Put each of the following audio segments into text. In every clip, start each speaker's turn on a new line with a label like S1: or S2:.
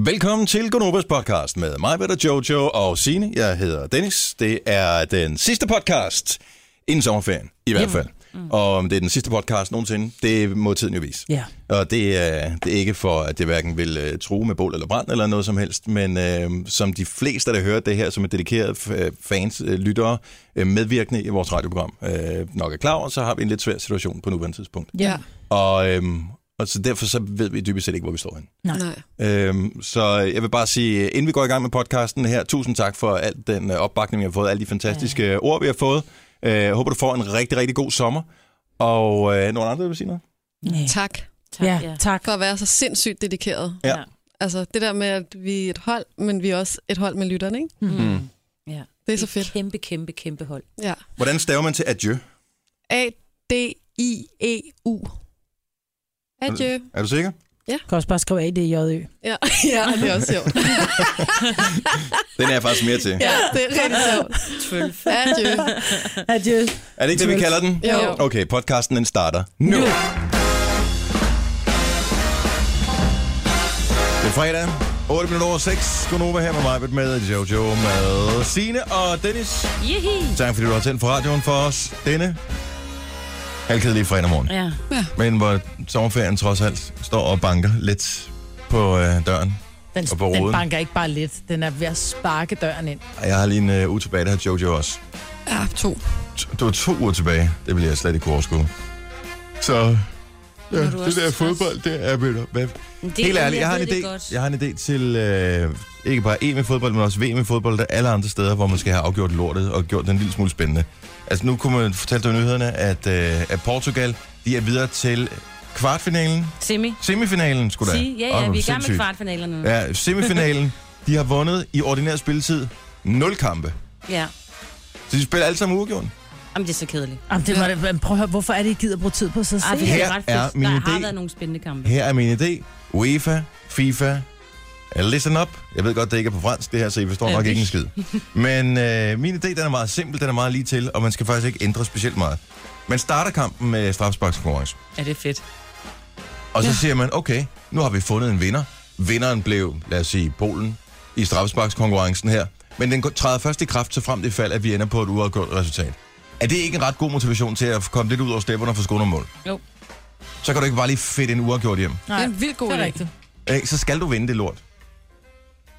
S1: Velkommen til Gonobas podcast med mig, Peter Jojo og Sine. Jeg hedder Dennis. Det er den sidste podcast inden sommerferien, i hvert fald. Mm. Og om det er den sidste podcast nogensinde, det må tiden jo vise.
S2: Ja.
S1: Og det er, det er ikke for, at det hverken vil øh, true med bål eller brand eller noget som helst, men øh, som de fleste, der hører det her, som er dedikeret f- fans, øh, lyttere, øh, medvirkende i vores radioprogram, øh, nok er klar over, så har vi en lidt svær situation på nuværende tidspunkt.
S2: Ja.
S1: Og, øh, og så derfor så ved vi dybest set ikke, hvor vi står henne.
S3: Nej.
S1: Øhm, så jeg vil bare sige, inden vi går i gang med podcasten her, tusind tak for al den øh, opbakning, vi har fået, alle de fantastiske ja. ord, vi har fået. Øh, Jeg håber, du får en rigtig, rigtig god sommer. Og øh, nogen andre der vil sige noget?
S2: Nej.
S3: Tak
S2: Tak, ja,
S4: ja.
S2: tak.
S3: for at være så sindssygt dedikeret.
S1: Ja.
S3: Altså det der med, at vi er et hold, men vi er også et hold med lytterne, ikke?
S4: Mm. Ja.
S3: Det er så fedt.
S4: Kæmpe, kæmpe, kæmpe hold.
S3: Ja.
S1: Hvordan staver man til adieu?
S3: A-D-I-E-U. Adieu.
S1: Er du sikker?
S2: Du kan også bare skrive ADJØ.
S3: Ja, ja det er også sjovt.
S1: Den er jeg faktisk mere til.
S3: Ja, det er rigtig sjovt. Adieu.
S2: Adieu.
S1: Er det ikke det, vi kalder den?
S3: Jo.
S1: Okay, podcasten den starter nu. nu. Det er fredag, 8 minutter over 6. Godnova her med mig, med Jojo, med Sine og Dennis.
S4: Jehi!
S1: Tak fordi du har tændt for radioen for os denne halvkedelige fredag morgen.
S4: Ja.
S1: Men hvor sommerferien trods alt står og banker lidt på øh, døren.
S5: Den,
S1: Og på
S5: den
S1: ruden.
S5: banker ikke bare lidt. Den er ved at sparke døren ind.
S1: Ej, Jeg har lige en øh, uge tilbage, der har Jojo også.
S3: Ja, to.
S1: T- Du har to uger tilbage. Det vil jeg slet ikke kunne overskue. Så ja,
S4: er du
S1: det
S4: også
S1: der
S4: træt.
S1: fodbold, det er Peter. Hvad?
S4: Det,
S1: Helt ærligt,
S4: jeg
S1: jeg har, en
S4: ved det
S1: idé,
S4: godt.
S1: jeg har en idé til øh, ikke bare EM i fodbold, men også VM i fodbold, der er alle andre steder, hvor man skal have afgjort lortet og gjort den en lille smule spændende. Altså nu kunne man fortælle dig i nyhederne, at, øh, at Portugal, de er videre til kvartfinalen,
S4: Semi.
S1: semifinalen skulle da.
S4: Sige, ja, ja,
S1: Åh,
S4: vi er i gang med
S1: sindssygt.
S4: kvartfinalerne. nu.
S1: Ja, semifinalen, de har vundet i ordinær spilletid 0 kampe.
S4: ja.
S1: Så de spiller alle sammen uafgjort.
S4: Jamen, det er så kedeligt.
S5: Jamen, det var det. men Prøv at høre, hvorfor er det, I gider bruge tid på sig
S4: Ej,
S5: selv?
S4: det
S1: Her
S4: er ret
S1: er
S4: fedt.
S1: min
S4: Der har
S1: idé.
S4: været nogle spændende kampe.
S1: Her er min idé. UEFA, FIFA, listen up. Jeg ved godt, det ikke er på fransk det her, så I forstår
S4: Ja,
S1: nok
S4: vi-
S1: ikke en skid. Men øh, min idé, den er meget simpel, den er meget lige til, og man skal faktisk ikke ændre specielt meget. Man starter kampen med strafsparkskonkurrence.
S4: Ja, det er fedt.
S1: Og så ja. siger man, okay, nu har vi fundet en vinder. Vinderen blev, lad os sige, Polen i straffesparkskonkurrencen her. Men den træder først i kraft, så frem det fald, at vi ender på et uafgjort resultat. Er det ikke en ret god motivation til at komme lidt ud over stepperne og få skåret nogle mål?
S4: Jo.
S1: Så kan du ikke bare lige fedt en uafgjort hjem.
S3: Det
S5: Nej,
S3: er en vildt god
S5: det er
S3: idé.
S5: rigtigt.
S1: Ikke? Så skal du vinde det lort.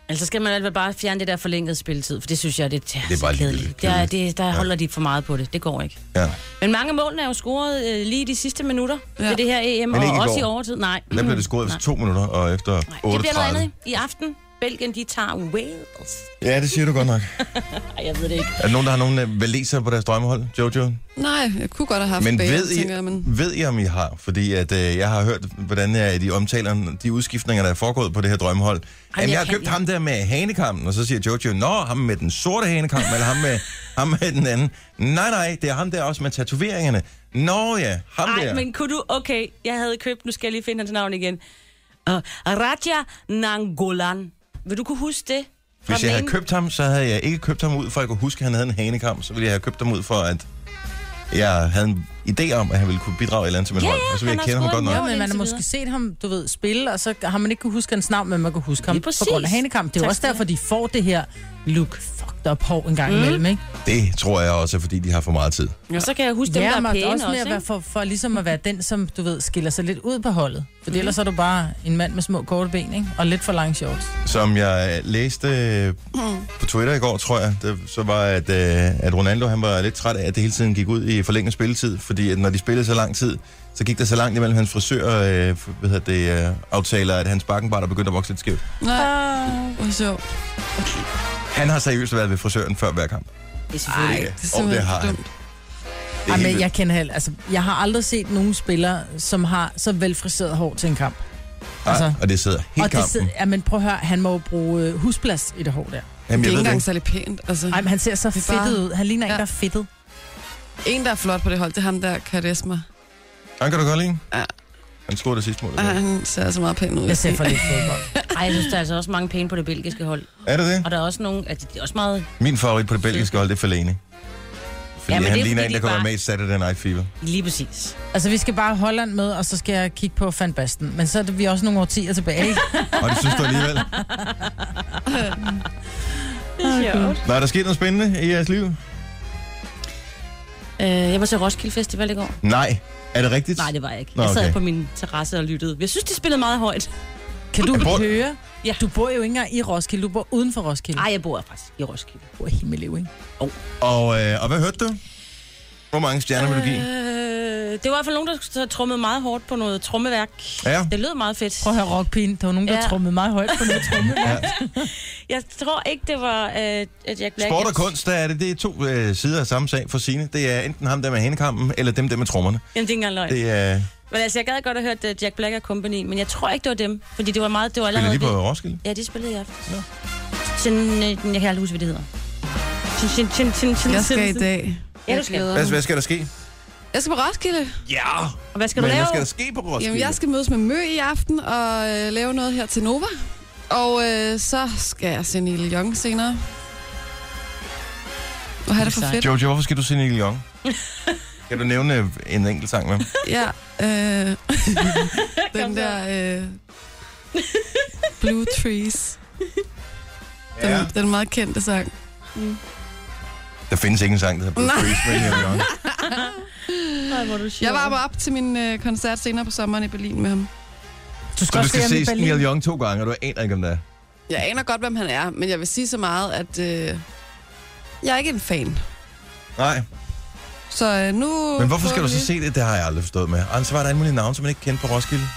S4: Altså, så skal man altid bare fjerne det der forlængede spilletid, for det synes jeg, det, det er,
S1: Det er
S4: så
S1: bare
S4: kedeligt.
S1: ligegyldigt.
S4: Der, er- det, der holder de for meget på det. Det går ikke.
S1: Ja.
S4: Men mange af målene er jo scoret øh, lige i de sidste minutter ja.
S3: Ja.
S4: ved det her EM,
S1: Men ikke i
S4: og også
S1: går.
S4: i overtid. Nej.
S1: Der blev det scoret efter to minutter, og efter
S4: Mm. Nej, det bliver noget
S1: 38.
S4: andet i aften. Belgien, de tager Wales.
S1: Ja, det siger du godt nok.
S4: Nej, jeg ved det ikke.
S1: Er der nogen, der har nogen øh, valiser på deres drømmehold, Jojo?
S3: Nej, jeg kunne godt have haft
S1: Men
S3: bager,
S1: ved I,
S3: tænker jeg, men...
S1: ved I, om I har? Fordi at, øh, jeg har hørt, hvordan øh, de omtaler de udskiftninger, der er foregået på det her drømmehold. Jamen, jeg
S4: jeg
S1: har
S4: kan
S1: købt
S4: ikke.
S1: ham der med hanekampen, og så siger Jojo, nå, ham med den sorte hanekamp, eller ham med, ham med den anden. Nej, nej, det er ham der også med tatoveringerne. Nå ja, ham der.
S4: Ej, men kunne du... Okay, jeg havde købt... Nu skal jeg lige finde hans navn igen. Uh, Raja Nangolan. Vil du kunne huske det? Fra
S1: Hvis
S4: den
S1: jeg havde
S4: ene-
S1: købt ham, så havde jeg ikke købt ham ud, for at jeg kunne huske, at han havde en hanekamp. Så ville jeg have købt ham ud for, at jeg havde en idé om, at han ville kunne bidrage et eller andet til mit
S4: Ja,
S1: hold.
S4: ja,
S1: og så ville
S4: han
S1: jeg kende altså,
S4: har
S1: ham
S4: scoret
S1: godt nok.
S4: en
S5: Jo, men man har
S4: Indtil
S5: måske
S4: videre.
S5: set ham, du ved, spille, og så har man ikke kunne huske hans navn, men man kan huske ham
S4: Lige
S5: på
S4: præcis.
S5: grund af hanekamp. Det er jo
S4: Tak
S5: også
S4: skal du
S5: derfor, de får det her look fucked up hår en gang imellem, ikke?
S1: Det tror jeg også er, fordi de har for meget tid.
S4: Og så kan jeg huske dem,
S5: ja,
S4: der
S5: men
S4: er pæne
S5: også
S4: også,
S5: med at
S4: ikke?
S5: være for, for ligesom at være den, som du ved, skiller sig lidt ud på holdet. For mm. ellers er du bare en mand med små korte ben, ikke? Og lidt for lange shorts.
S1: Som jeg læste øh,
S4: Mm.
S1: på Twitter i går, tror jeg, det, så var, at, øh, at Ronaldo han var lidt træt af, at det hele tiden gik ud i forlænget spilletid. Fordi at når de spillede så lang tid, så gik der så langt imellem hans frisør og øh, hvad hedder det, øh, aftaler, at hans bakkenbart er begyndt at vokse lidt skævt.
S3: Nej,
S5: Ah.
S3: hvor sjovt.
S1: Han har seriøst været ved frisøren før hver kamp.
S4: Det er selvfølgelig.
S1: Ja,
S3: Det er
S1: og
S3: simpelthen
S1: har han.
S3: dumt.
S1: Det er helt
S5: Ej, men
S1: vildt.
S5: jeg kender heller, altså, jeg har aldrig set nogen spillere, som har så velfriseret hår til en kamp. Altså,
S1: Ej, og det sidder helt
S5: og det
S1: kampen.
S5: sidder, ja, men prøv at høre, han må jo bruge øh, husplads i det hår der.
S1: Jamen,
S3: Det er
S1: jeg
S3: ikke
S1: ved det
S3: engang
S1: ikke.
S3: særlig pænt. Altså,
S5: Ej, men han ser så
S3: Det er
S5: fedtet
S3: bare-
S5: ud. Han ligner ja. en,
S3: Ja.
S5: der er fedtet.
S3: en, der er flot på det hold, det er ham der, Karisma.
S1: Han kan du godt lide?
S3: Ja.
S1: Han scorede det sidste mål.
S3: Ej,
S1: Ah.
S3: han ser altså meget pæn ud.
S5: Jeg ser for lidt fodbold.
S4: Ej, jeg synes, der er altså også mange pæne på det belgiske hold.
S1: Er det det?
S4: Og der er også nogle... Altså, det er også meget...
S1: Min favorit på det belgiske hold, det er Fellaini. Fordi
S4: Ja,
S1: ja,
S4: men
S1: han
S4: det er,
S1: ligner
S4: fordi
S1: en,
S4: de
S1: der kunne være
S4: bare-
S1: med i Saturday Night Fever.
S4: Lige præcis.
S5: Altså, vi skal bare have Holland med, og så skal jeg kigge på Van Basten. Men så er det, vi også nogle årtier tilbage, ikke?
S1: Og det synes du alligevel.
S4: Det er sjovt.
S1: Nå, er der sket noget spændende i jeres liv?
S4: Øh, jeg var til Roskilde Festival i går.
S1: Nej. Er det rigtigt?
S4: Nej, det var jeg ikke.
S1: Nå,
S4: Jeg sad
S1: okay.
S4: på min terrasse og lyttede. Jeg synes, de spillede meget højt.
S5: Kan du
S1: Jeg bor-
S5: høre?
S4: Ja.
S5: Du bor jo ikke engang i Roskilde, du bor uden for Roskilde.
S4: Nej, jeg bor faktisk i Roskilde.
S5: du bor i Himmelev, ikke?
S1: Og, øh, og hvad hørte du? Hvor mange stjerner vil du give?
S4: Øh, det var i hvert fald nogen, der så trummede meget hårdt på noget trummeværk.
S1: Ja.
S4: Det lød meget fedt.
S5: Prøv at høre rockpigen, der var nogen, der
S4: Ja.
S5: ja. trummede meget højt på noget tromme.
S1: ja.
S4: Jeg tror ikke, det var øh, at Jack Black.
S1: Sport og kunst, der er det, det er to øh, sider af samme sag for sine. Det er enten ham der med hanekampen, eller dem der med trommerne.
S4: Jamen, det er ikke engang løgn. Det...
S1: Det er...
S4: Men altså, jeg gad godt have hørt øh, Jack Black og Company, men jeg tror ikke, det var dem. Fordi det var meget... Det var
S1: Spiller
S4: allerede
S1: lige på Roskilde?
S4: Ja, det spillede jeg i aften. Sådan, øh, jeg kan aldrig huske, hvad det hedder. Sådan, sådan, sådan, sådan, sådan,
S3: Jeg skal
S4: sådan,
S3: i
S4: sådan.
S3: dag.
S4: Ja, du skal.
S1: Hvad, hvad skal der ske?
S3: Jeg skal på Roskilde.
S1: Ja,
S4: Og hvad skal
S1: men
S4: du lave?
S1: hvad skal der ske på Roskilde?
S3: Jamen, jeg skal mødes med Mø i aften og øh, lave noget her til Nova. Og øh, så skal jeg se Neil Young senere. Og have det for
S5: Sejt.
S3: fedt.
S1: Jojo, hvorfor skal du se Neil Young? kan du nævne øh, en enkelt sang med ham?
S3: Ja, øh, den der øh, Blue Trees. Den,
S1: Ja.
S3: den meget kendte sang.
S1: Der findes ikke en sang, der hedder Blue
S3: Nej.
S1: Trees med Neil Young.
S4: Nej, hvor er du sjov.
S3: Jeg var bare op til min øh, koncert senere på sommeren i Berlin med ham.
S5: Du
S1: Så
S5: skal
S1: du
S5: også
S1: skal
S5: se ham i
S1: se Neil
S5: Berlin.
S1: Young to gange, og du aner ikke, om det er.
S3: Jeg aner godt, hvem han er, men jeg vil sige så meget, at øh, jeg er ikke en fan.
S1: Nej,
S3: Så øh, nu...
S1: men hvorfor skal du så se det? Det har jeg aldrig forstået med. Og så var der en mulig navn, som man ikke kendte på Roskilde.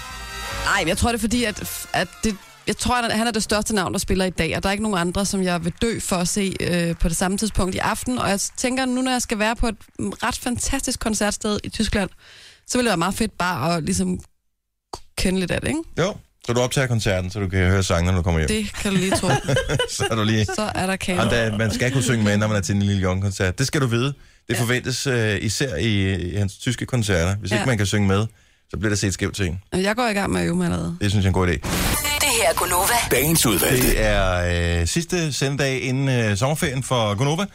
S3: Nej, men jeg tror, det er fordi, at, at det, jeg tror, at han er det største navn, der spiller i dag, og der er ikke nogen andre, som jeg vil dø for at se øh, på det samme tidspunkt i aften. Og jeg tænker, nu når jeg skal være på et mm, ret fantastisk koncertsted i Tyskland, så ville det være meget fedt bare at ligesom kende lidt af det, ikke?
S1: Jo, så du optager koncerten, så du kan høre sangen, når du kommer hjem.
S3: Det kan du lige tro.
S1: så er du lige...
S3: Så er der kage.
S1: Og da, man skal kunne synge med, når man er til en lille Young-koncert. Det skal du vide. Det forventes øh, især i, i hans tyske koncerter. Hvis ja.
S3: Ja.
S1: ikke man kan synge med, så bliver der set skævt til en.
S3: Jeg går i gang med at øve mig allerede.
S1: Det synes jeg er en god idé.
S6: Det her er Gunova.
S7: Dagens udvalgte.
S1: Det er øh, sidste sendedag inden øh, sommerferien for Gonova.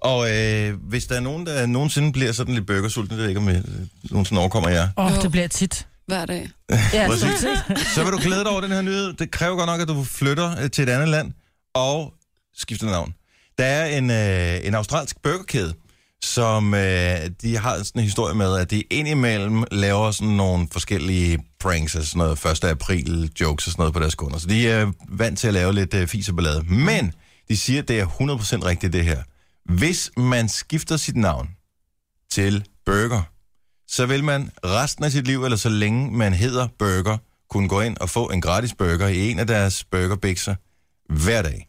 S1: Og øh, hvis der er nogen, der nogensinde bliver sådan lidt burgersulten, det ved jeg ikke, om jeg nogensinde overkommer jer,
S5: Åh, oh, det bliver tit.
S3: Hver dag.
S5: Ja,
S1: Præcis.
S5: stort set.
S1: så vil du glæde dig over den her nyhed. Det kræver godt nok, at du flytter øh, til et andet land og skifter navn. Der er en, øh, en australsk burgerkæde, som øh, de har sådan en historie med, at de indimellem laver sådan nogle forskellige pranks, altså sådan noget 1. april jokes og sådan noget på deres kunder. Så de er vant til at lave lidt øh, fis og ballade. Men de siger, at det er 100% rigtigt det her. Hvis man skifter sit navn til burger, så vil man resten af sit liv, eller så længe man hedder burger, kunne gå ind og få en gratis burger i en af deres burgerbikser hver dag.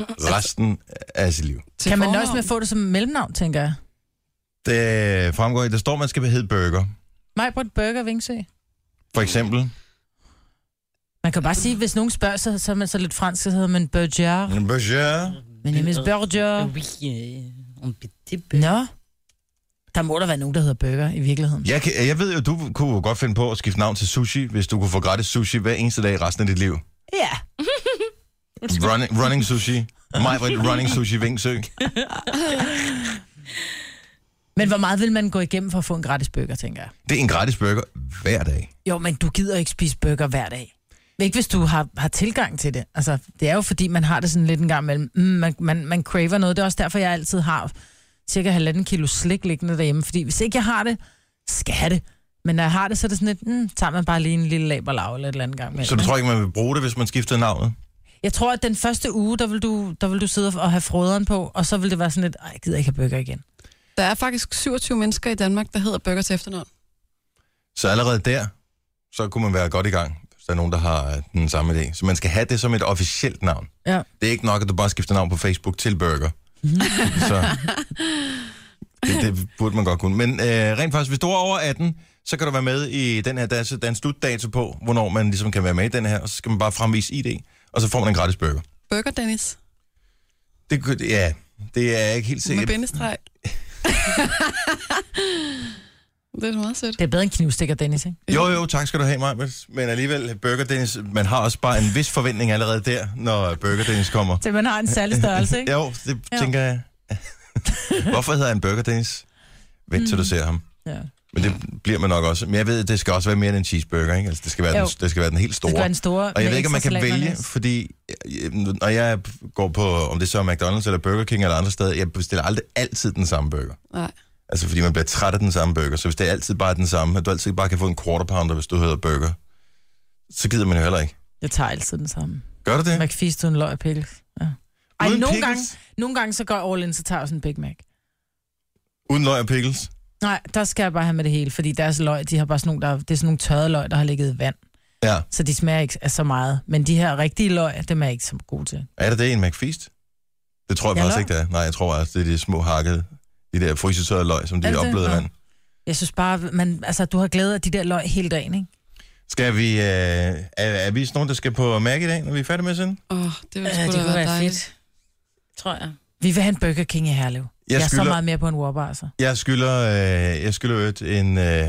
S1: Resten af sit liv.
S3: Til
S5: Kan man
S3: fornavn.
S5: nøjes med at få det som mellemnavn, tænker jeg?
S1: Det fremgår, at der står, at man skal hedde burger.
S5: Majbrit Burger Vingsø.
S1: For eksempel
S5: Man kan bare sige, hvis nogen spørger, så, så er man så lidt fransk, så hedder man Burger.
S1: en burger.
S5: Men name is Burger. Øh, Nå. Der må der være nogen, der hedder Burger i virkeligheden.
S1: Jeg, kan, jeg ved jo, du kunne godt finde på at skifte navn til sushi, hvis du kunne få gratis sushi hver eneste dag i resten af dit liv.
S5: Ja.
S1: Running, running sushi. Mig running sushi Vingsø.
S5: Men hvor meget vil man gå igennem for at få en gratis burger, tænker jeg?
S1: Det er en gratis burger hver dag.
S5: Jo, men du gider ikke spise burger hver dag. Ikke hvis du har, har tilgang til det. Altså, det er jo fordi, man har det sådan lidt en gang imellem. Mm, man, man, man craver noget. Det er også derfor, jeg altid har cirka halvanden kilo slik liggende derhjemme. Fordi hvis ikke jeg har det, skal jeg have det. Men når jeg har det, så er det sådan lidt, mm, tager man bare lige en lille laberlav eller et eller andet gang imellem.
S1: Så du
S5: ikke?
S1: tror ikke, man vil bruge det, hvis man skifter navnet?
S5: Jeg tror, at den første uge, der vil du, der vil du sidde og have froderen på, og så vil det være sådan lidt, ej, jeg gider ikke have burger igen.
S3: Der er faktisk 27 mennesker i Danmark, der hedder burger til efternavn.
S1: Så allerede der, så kunne man være godt i gang, hvis der er nogen, der har øh, den samme idé. Så man skal have det som et officielt navn.
S5: Ja. Mhm.
S1: Det er ikke nok, at du bare skifter navn på Facebook til Burger. så det, det burde man godt kunne. Men øh, rent faktisk, hvis du er over 18, så kan du være med i den her, der er, så- der er en slutdato på, hvornår man ligesom kan være med i den her, og så skal man bare fremvise ID, og så får man en gratis burger.
S3: Burger Dennis.
S1: Det, kunne- ja, det er jeg ikke helt
S3: Med
S1: sikkert.
S3: bindestreg. det er da meget sødt.
S5: Det er bedre end knivstikker, Dennis, ikke?
S1: Jo, jo, tak skal du have, Majbert. Men alligevel, Burger Dennis, man har også bare en vis forventning allerede der, når Burger Dennis kommer.
S5: Til man har en særlig størrelse, ikke?
S1: Jo, det
S5: Ja.
S1: tænker jeg. Hvorfor hedder han Burger Dennis? Vent
S5: Mm.
S1: til du ser ham.
S5: Ja.
S1: Men det bliver man nok også. Men jeg ved, at det skal også være mere end en cheeseburger, ikke? Altså, det skal være, den,
S5: Jo.
S1: det skal være den helt
S5: Det skal
S1: store.
S5: være en store
S1: Og jeg ved
S5: med
S1: ikke, om man
S5: ekstra
S1: kan
S5: salater og
S1: vælge,
S5: næs.
S1: fordi øh, når jeg går på, om det så er McDonald's eller Burger King eller andre steder, jeg bestiller aldrig altid den samme burger.
S3: Nej.
S1: Altså, fordi man bliver træt af den samme burger. Så hvis det er altid bare den samme, at du altid bare kan få en quarter pounder, hvis du hedder burger, så gider man jo heller ikke.
S5: Jeg tager altid den samme.
S1: Gør du det?
S5: McFeast uden løg og pickles. Ja. Ej,
S1: Uden
S5: nogle
S1: pickles?
S5: gange, nogle gange så går jeg all in, så tager jeg også en Big Mac.
S1: Uden løg og pickles?
S5: Nej, der skal jeg bare have med det hele, fordi deres løg, de har bare sådan nogle, der, det er sådan nogle tørrede løg, der har ligget i vand.
S1: Ja.
S5: Så de smager ikke af så meget. Men de her rigtige løg, dem er jeg ikke så god til.
S1: Er det det i en McFeast? Det tror jeg
S5: Ja,
S1: faktisk
S5: løg.
S1: ikke, det er. Nej, jeg tror altså, det er de små hakkede, de der frysetørrede løg, som de
S5: Er
S1: er
S5: det det?
S1: oplevet af
S5: Nå.
S1: vand.
S5: Jeg synes bare, man, altså, du har glæde af de der løg hele dagen, ikke?
S1: Skal vi... Øh, er, er, vi sådan nogen, der skal på Mac i dag, når vi er færdige med sådan?
S3: Åh, oh, det ville
S4: Ja,
S3: sgu
S4: det
S3: da
S4: kunne
S3: være
S4: være
S3: dejligt.
S4: fedt. Tror jeg.
S5: Vi vil have en Burger King i Herlev. Jeg, jeg er så meget mere på en Whopper, altså.
S1: jeg skylder, øh, jeg skylder jo et, en, øh,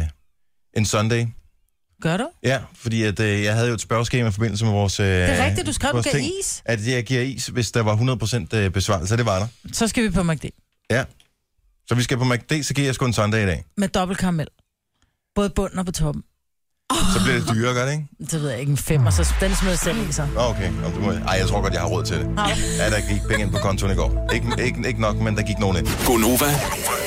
S1: en Sunday.
S5: Gør du?
S1: Ja, fordi at, øh, jeg havde jo et spørgeskema i forbindelse med vores... Øh,
S5: Det er rigtigt, du skrev, du
S1: vores
S5: gav
S1: ting,
S5: is.
S1: At jeg giver is, hvis der var 100% øh, besvarelse, og det var der.
S5: Så skal vi på McD.
S1: Så vi skal på McD, så giver jeg sgu en Sunday i dag.
S5: Med dobbelt karamel. Både bunden og på toppen.
S1: Så bliver det dyrere, gør det ikke?
S5: Det ved jeg ikke, en fem, og så den smider jeg selv i sig.
S1: Nå, Ah, okay. Nå, det må jeg. Ej, jeg tror godt, jeg har råd til det. Ja, der gik penge ind på kontoen i går. Ikke, ikke, ikke nok, men der gik nogen ind.
S6: Gonova,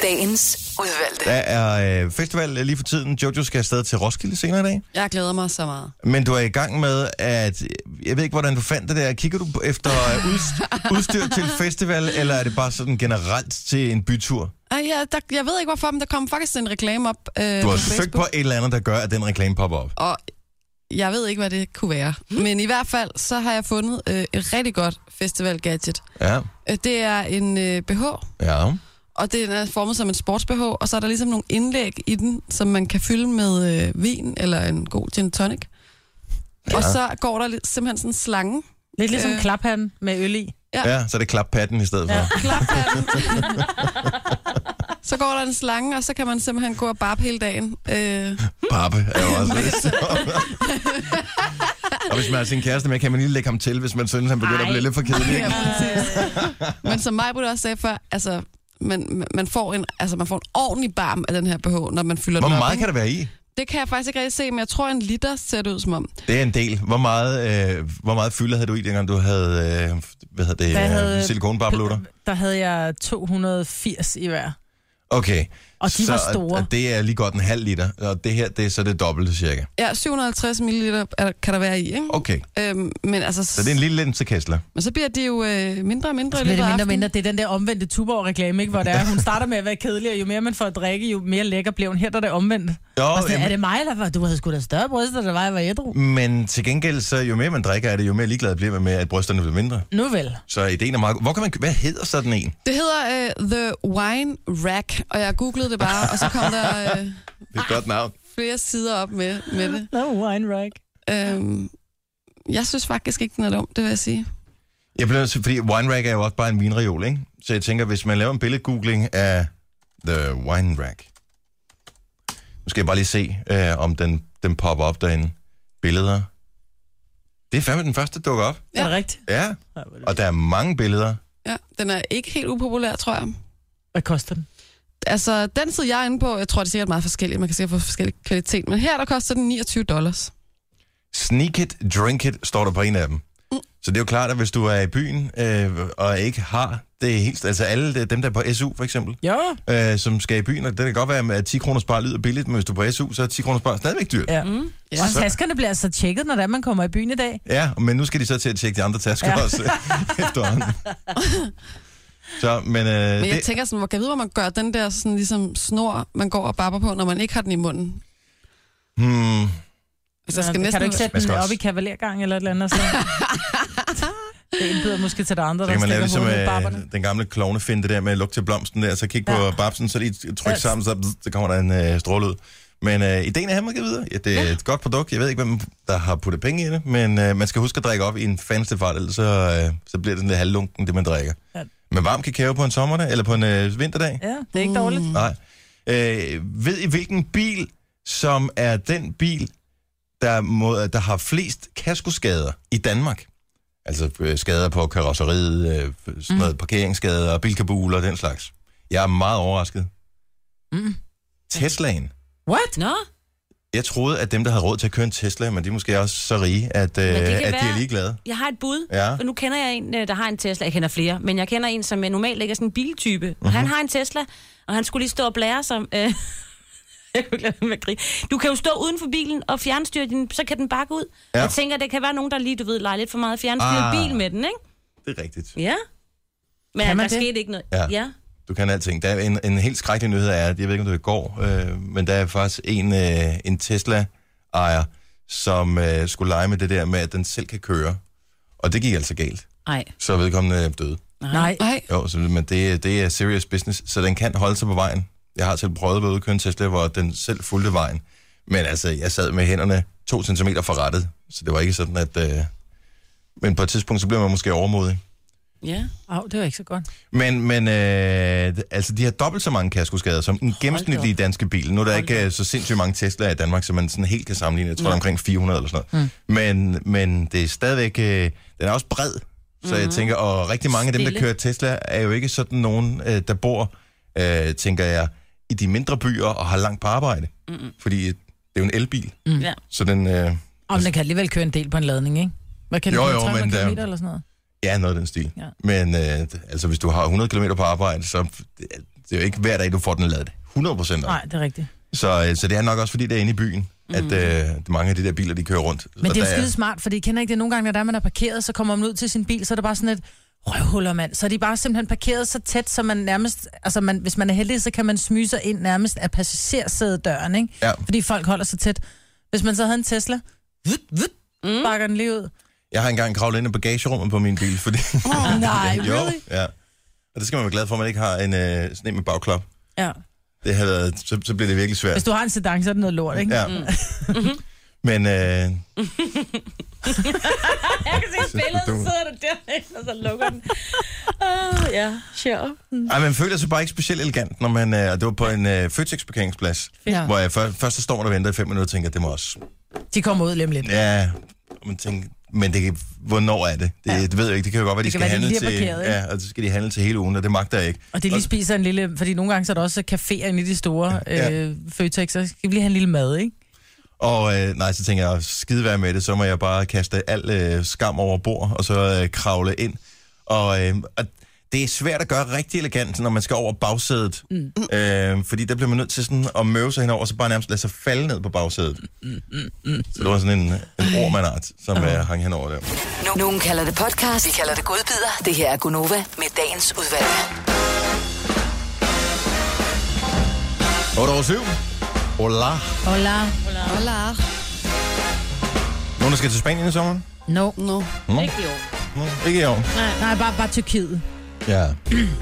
S7: Dagens udvalgte.
S1: Der er øh, festival lige for tiden. Jojo skal afsted til Roskilde senere i dag.
S3: Jeg glæder mig så meget.
S1: Men du er i gang med at... Jeg ved ikke, hvordan du fandt det der. Kigger du efter øh, udst- udstyr til festival, eller er det bare sådan generelt til en bytur?
S3: Ej, ja, der, jeg ved ikke hvorfor, men der kom faktisk en reklame op øh,
S1: Du
S3: på
S1: har
S3: Facebook.
S1: søgt på et eller andet, der gør, at den reklame popper op.
S3: Og jeg ved ikke, hvad det kunne være.
S7: Hmm?
S3: Men i hvert fald, så har jeg fundet øh, et rigtig godt festival-gadget.
S1: Ja,
S3: Øh, Det er en øh, BH,
S1: ja.
S3: og den er formet som en sports-BH, og så er der ligesom nogle indlæg i den, som man kan fylde med øh, vin eller en god gin tonic. Ja. Og så går der li- simpelthen sådan en slange.
S5: Lidt ligesom
S3: Øh.
S5: øh. klaphanden med øl i.
S1: Ja, så er det klappatten i stedet for.
S5: Ja.
S3: Klap af den. så går der en slange, og så kan man simpelthen gå og barbe hele dagen. Øh,
S1: Pappe er jo også lidt sjovt. Og hvis man har sin kæreste med, kan man lige lægge ham til, hvis man synes, han begynder at blive lidt for kedelig. ikke?
S3: Ja, præcis. Men som mig også sagde før, altså, man, man, får en, altså, man får en ordentlig barm af den her BH, når man fylder den
S1: Hvor
S3: op.
S1: meget
S3: ikke?
S1: kan der være i?
S3: Det kan jeg faktisk ikke rigtig se, men jeg tror, en liter ser det ud som om.
S1: Det er en del. Hvor meget, øh, hvor meget fylde havde du i, dengang du havde, øh, hvad hedder det,
S5: Hvad
S1: havde...
S5: havde-
S1: silikonbarblutter?
S5: Der havde jeg 280 i hver.
S1: Okay.
S5: Og de
S1: så,
S5: var store.
S1: og Det er lige godt en halv liter, og det her, det er så det dobbelte cirka.
S3: Ja, 750 ml kan der være i, ikke?
S1: Okay,
S3: Øhm, men, altså,
S1: så det er en lille linsekæsler.
S3: men så bliver det jo øh, mindre og mindre
S5: Så
S3: i
S5: bliver
S3: løbet
S5: det
S3: af
S5: mindre og
S3: aftenen.
S5: mindre. Det er den der omvendte Tuborg-reklame, ikke? Hvor der er, hun starter med at være kedelig, og jo mere man får at drikke, jo mere lækker bliver hun. Her der er det omvendt.
S1: Jo,
S5: Og sådan, er
S1: jamen,
S5: det mig, eller hvad? Du havde sgu da større bryster, der var, jeg var ædru.
S1: men til gengæld, så jo mere man drikker af det, jo mere ligeglad bliver man med, at brysterne bliver mindre.
S5: Nu vel.
S1: Så ideen er meget god. Hvor kan man, hvad hedder sådan en?
S3: Det hedder øh, The Wine Rack, og jeg googlede det bare, og så kom der øh,
S1: Det er et godt navn.
S3: flere sider op med, med det.
S5: No wine rack.
S3: Øhm, jeg synes faktisk ikke, den er dum, det vil jeg sige.
S1: Jeg bliver nødt til, fordi wine rack er jo også bare en vinreol, ikke? Så jeg tænker, hvis man laver en billedgoogling af the wine rack. Nu skal jeg bare lige se, øh, om den, den popper op derinde. Billeder. Det er fandme den første, der dukker op.
S5: Ja. Er det rigtigt?
S1: Ja,
S5: Ej, hvor er det-
S1: og der er mange billeder.
S3: Ja, den er ikke helt upopulær, tror jeg.
S5: Hvad koster den?
S3: Altså, den side, jeg er inde på, jeg tror, det er sikkert meget forskelligt. Man kan sikkert få forskellig kvalitet. Men her, der koster den 29 dollars.
S1: Sneak it, drink it, står der på en af dem.
S3: Mm.
S1: Så det er jo klart, at hvis du er i byen øh, og ikke har det helt... Altså alle de- dem, der er på SU for eksempel,
S5: Jo.
S1: øh, som skal i byen, og det kan godt være, at 10 kroner spar lyder billigt, men hvis du er på SU, så er 10 kroner spar stadigvæk dyrt.
S5: Ja.
S4: Mm.
S3: Ja.
S5: Og taskerne bliver altså tjekket, når det er, man kommer i byen i dag.
S1: Ja, men nu skal de så til at tjekke de andre tasker ja.
S5: Ja.
S1: også øh, efterhånden. Så, men, øh,
S3: Men jeg
S1: det,
S3: tænker sådan, hvor kan jeg vide, hvor man gør den der sådan ligesom snor, man går og barber på, når man ikke har den i munden?
S1: hmm,
S3: Altså, der
S5: Nå,
S3: skal
S5: kan
S3: næsten...
S5: du ikke sætte
S1: Man skal
S5: den op
S1: også-
S5: i kavalergang eller et eller andet? Så? det indbyder måske til det andre,
S1: så
S5: der
S1: kan man lave
S5: stikker
S1: ligesom
S5: hovedet i barberne.
S1: øh, den gamle klovnefinde der med at lukke til blomsten der, så kig på ja.
S5: Ja.
S1: babsen, så lige tryk
S5: Ja.
S1: sammen, så, bzz, så kommer der en øh, stråle ud. Men øh, ideen er, at man kan videre. Ja, det er ja. et godt produkt. Jeg ved ikke, hvem der har puttet penge i det, men øh, man skal huske at drikke op i en fanste fart, ellers så, øh, så bliver det sådan lidt halvlunken, det man drikker. Ja.
S5: Ja.
S1: Men varm kakao på en sommerdag, eller på en øh, vinterdag, Mm.
S5: Ja, det er ikke dårligt.
S1: Nej. Øh, ved I, hvilken bil, som er den bil, der, må, der har flest kaskoskader i Danmark? Altså øh, skader på
S5: Mm.
S1: karosseriet, øh, sådan noget, parkeringsskader, bilkabuler og den slags. Jeg er meget overrasket.
S5: Mm.
S1: Teslaen.
S5: What?
S4: Nå,
S1: Jeg troede, at dem, der havde råd til at køre en Tesla, men de er måske også så rige, at, øh,
S4: det
S1: at
S4: kan
S1: de er
S4: være-
S1: ligeglade.
S4: jeg har et bud.
S1: Ja.
S4: Og nu kender jeg en, øh, der har en Tesla. Jeg kender flere, men jeg kender en, som øh, normalt ikke er sådan en biltype.
S1: Mhm.
S4: Mm-hmm. Han har en Tesla, og han skulle lige stå og blære sig. Øh, jeg kunne ikke lade være med at grine. Du kan jo stå uden for bilen og fjernstyre din, så kan den bakke ud.
S1: Ja.
S4: Ja. Jeg tænker, det kan være nogen, der lige, du ved, leger lidt for meget fjernstyret
S1: Ah.
S4: ah. bil med den, ikke?
S1: Det er rigtigt.
S4: Ja. Men
S5: Kan
S4: kan
S5: man
S4: der det?
S5: det?
S4: skete ikke noget.
S1: Ja.
S4: ja.
S1: Du kan alting. Der er en, en helt skrækkelig nyhed er, at jeg ved ikke, om det var i går, øh, men der er faktisk en, øh, en Tesla-ejer, som øh, skulle lege med det der med, at den selv kan køre. Og det gik altså galt.
S4: Ej.
S1: Så er vedkommende døde.
S5: Nej.
S3: Nej,
S1: Jo, så, men det, det er serious business, så den kan holde sig på vejen. Jeg har selv prøvet ved at køre en Tesla, hvor den selv fulgte vejen. Men altså, jeg sad med hænderne to centimeter fra rettet, så det var ikke sådan, at... Øh... Men på et tidspunkt, så bliver man måske overmodig.
S4: Ja.
S5: Au, det var ikke så godt.
S1: Men, men øh, altså, de har dobbelt så mange kaskoskader som den gennemsnitlige danske bil. Nu er der ikke øh, så sindssygt mange Tesla'er i Danmark, så man sådan helt kan sammenligne. Jeg tror, der er omkring 400 eller sådan noget. Mm. Men, men det er stadigvæk... Øh, den er også bred, så mm-hmm. jeg tænker... Og rigtig mange af dem, der
S4: Stille.
S1: kører Tesla, er jo ikke sådan nogen, øh, der bor, øh, tænker jeg, i de mindre byer og har langt på arbejde. Mm-hmm. Fordi øh, det er jo en elbil,
S4: Mm. ja.
S1: så den... Øh,
S5: Om den kan alligevel køre en del på en ladning, ikke? Hvad kan den
S1: Jo,
S5: køre,
S1: jo,
S5: 300
S1: men der-
S5: kilometer eller sådan noget?
S1: Ja, noget af den stil. Ja.
S5: Ja.
S1: Men øh, altså, hvis du har 100 km på arbejde, så det er det er jo ikke hver dag, du får den ladet. 100 procent.
S5: Nej, det er rigtigt.
S1: Så, øh, så det er nok også, fordi det er inde i byen, mm. at øh, mange af de der biler, de kører rundt.
S5: Men
S1: Og
S5: det er
S1: der
S5: jo skide smart, fordi I kender ikke det nogle gange, når der er, man er parkeret, så kommer man ud til sin bil, så er der bare sådan et røvhuller, mand. Så er de bare simpelthen parkeret så tæt, så man nærmest, altså man, hvis man er heldig, så kan man smyge sig ind nærmest af passagersædedøren, ikke?
S1: Ja.
S5: Fordi folk holder sig tæt. Hvis man så havde en Tesla, vut, vut, mm. bakker den lige ud.
S1: Jeg har engang kravlet ind i bagagerummet på min bil, fordi...
S5: Oh, nej,
S1: jo, ja. Og det skal man være glad for, at man ikke har en øh, sådan en med bagklap.
S5: Ja.
S1: Det har været, så, så bliver det virkelig svært.
S5: Hvis du har en sedan, så er det noget lort, ikke? Mm-hmm.
S1: Ja. Mm. Men øh,
S4: Jeg kan se billedet, så sidder du der, og så lukker den. Uh, ja, sure.
S5: Mm.
S1: ej, man føler sig bare ikke specielt elegant, når man... Øh, og det var på en øh, Føtex-parkeringsplads, ja.
S5: Ja.
S1: hvor jeg før, først så står man og venter i fem minutter og tænker, det må også
S5: De kommer ud lige om lidt.
S1: Ja, og man tænker, men det kan, hvornår er det? Det, ja. det ved jeg ikke. Det kan jo godt være, de
S5: Det
S1: skal
S5: kan være, de
S1: handle
S5: lige
S1: til...
S5: er parkeret, ikke?
S1: ja, og så skal de handle til hele ugen, og det magter jeg ikke.
S5: Og det lige spiser en lille... Fordi nogle gange så er der også caféer inde i de store
S1: Ja.
S5: øh, Føtex, så skal vi lige have en lille mad, ikke?
S1: Og øh, nej, så tænker jeg, skide være med det, så må jeg bare kaste al øh, skam over bord, og så øh, kravle ind. Og, øh, og det er svært at gøre rigtig elegant, når man skal over bagsædet. Mm. Øh, fordi der bliver man nødt til sådan at møve sig henover, og så bare nærmest lade sig falde ned på bagsædet. Mm, mm, mm. Så det var sådan en, en ormanart, som øh, hang henover der.
S7: Nu- Nogen kalder det podcast, vi kalder det godbider. Det her er Gunova med dagens udvalgte.
S1: 8 over 7. Hola.
S5: Hola.
S3: hola.
S1: Nogen, der skal til Spanien i sommeren?
S5: No.
S3: No.
S4: Ikke jo.
S1: Nå, ikke i år.
S5: Nej, bare, bare Tyrkiet.
S1: Ja.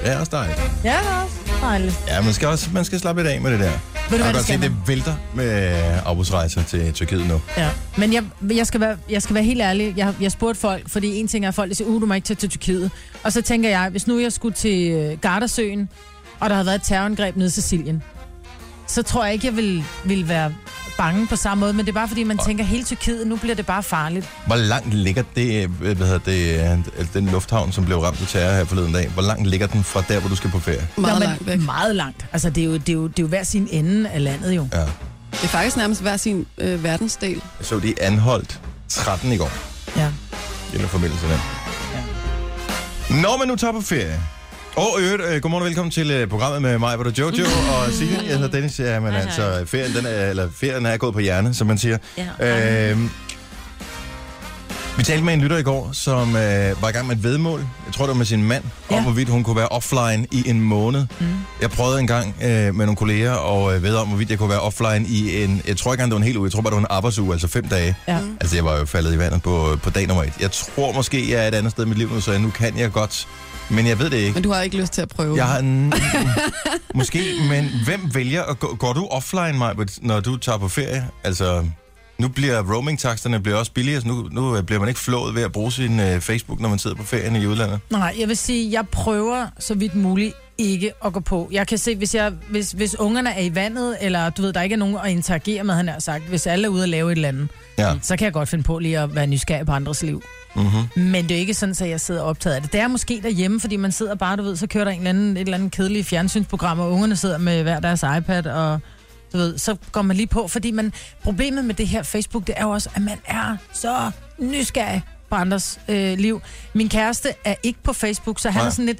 S1: Ja, også dejligt.
S5: Ja, det er også dejligt.
S1: Ja, man skal, også, man skal slappe lidt af med det der. jeg kan
S5: hvad, det
S1: godt se,
S5: skal man.
S1: det vælter med arbejdsrejser til Tyrkiet nu.
S5: Ja. Men jeg, jeg, skal være, jeg skal være helt ærlig. Jeg, jeg spurgte folk, fordi en ting er, at folk siger, uh, du må ikke tage til Tyrkiet. Og så tænker jeg, hvis nu jeg skulle til øh, Gardasøen, og der havde været et terrorangreb nede i Sicilien, så tror jeg ikke, jeg ville, ville være bange på samme måde. Men det er bare fordi, man tænker, hele Tyrkiet, nu bliver det bare farligt.
S1: Hvor langt ligger det, øh, hvad hedder det, øh, den lufthavn, som blev ramt af terror her forleden dag? Hvor langt ligger den fra der, hvor du skal på ferie?
S3: Meget
S5: Nå, men
S3: langt væk.
S5: Meget langt. Altså, det er, jo, det, er jo, det er jo hver sin ende af landet jo.
S1: Ja.
S3: Det er faktisk nærmest hver sin øh, verdensdel.
S1: Jeg så de anholdt 13 i går.
S5: Ja.
S1: Gælder forbindelse der. Når man nu tager på ferie. Og i øvrigt, øh, godmorgen og velkommen til øh, programmet med mig, hvor der Jojo og Signe. Jeg hedder Dennis. Ja, men
S4: Hej,
S1: altså, ferien, den er, eller ferien er gået på hjerne, som man siger.
S4: Ja.
S1: Øhm, vi talte med en lytter i går, som øh, var i gang med et vedmål. Jeg tror, det var med sin mand, ja. om
S5: Ja.
S1: hvorvidt hun kunne være offline i en måned. Mm. Jeg prøvede en gang øh, med nogle kolleger og øh, ved om, hvorvidt jeg kunne være offline i en... Jeg tror ikke engang, det var en hel uge. Jeg tror bare, det var en arbejdsuge, altså fem dage.
S5: Ja.
S1: Altså, jeg var jo faldet i vandet på, på dag nummer et. Jeg tror måske, jeg er et andet sted i mit liv nu, så jeg, nu kan jeg godt. Men jeg ved det ikke.
S3: Men du har ikke lyst til at prøve.
S1: Jeg har en... måske, men hvem vælger at gå, Går du offline, Maj, når du tager på ferie? Altså, nu bliver roamingtaksterne bliver også billigere, så nu, nu øh, bliver man ikke flået ved at bruge sin øh, Facebook, når man sidder på ferien i udlandet.
S5: Nej, jeg vil sige, jeg prøver så vidt muligt ikke at gå på. Jeg kan se, hvis, jeg, hvis, hvis ungerne er i vandet, eller du ved, der ikke er nogen at interagere med, han har sagt, hvis alle er ude og lave et eller andet,
S1: Ja.
S5: så kan jeg godt finde på lige at være nysgerrig på andres liv.
S1: Mm-hmm.
S5: Men det er jo ikke sådan, at jeg sidder optaget af det. Det er måske derhjemme, fordi man sidder bare, du ved, så kører der en eller anden, et eller andet kedeligt fjernsynsprogram, og ungerne sidder med hver deres iPad, og du ved, så går man lige på. Fordi man, problemet med det her Facebook, det er jo også, at man er så nysgerrig på andres øh, liv. Min kæreste er ikke på Facebook, så han
S1: Nej.
S5: Nej. er sådan lidt,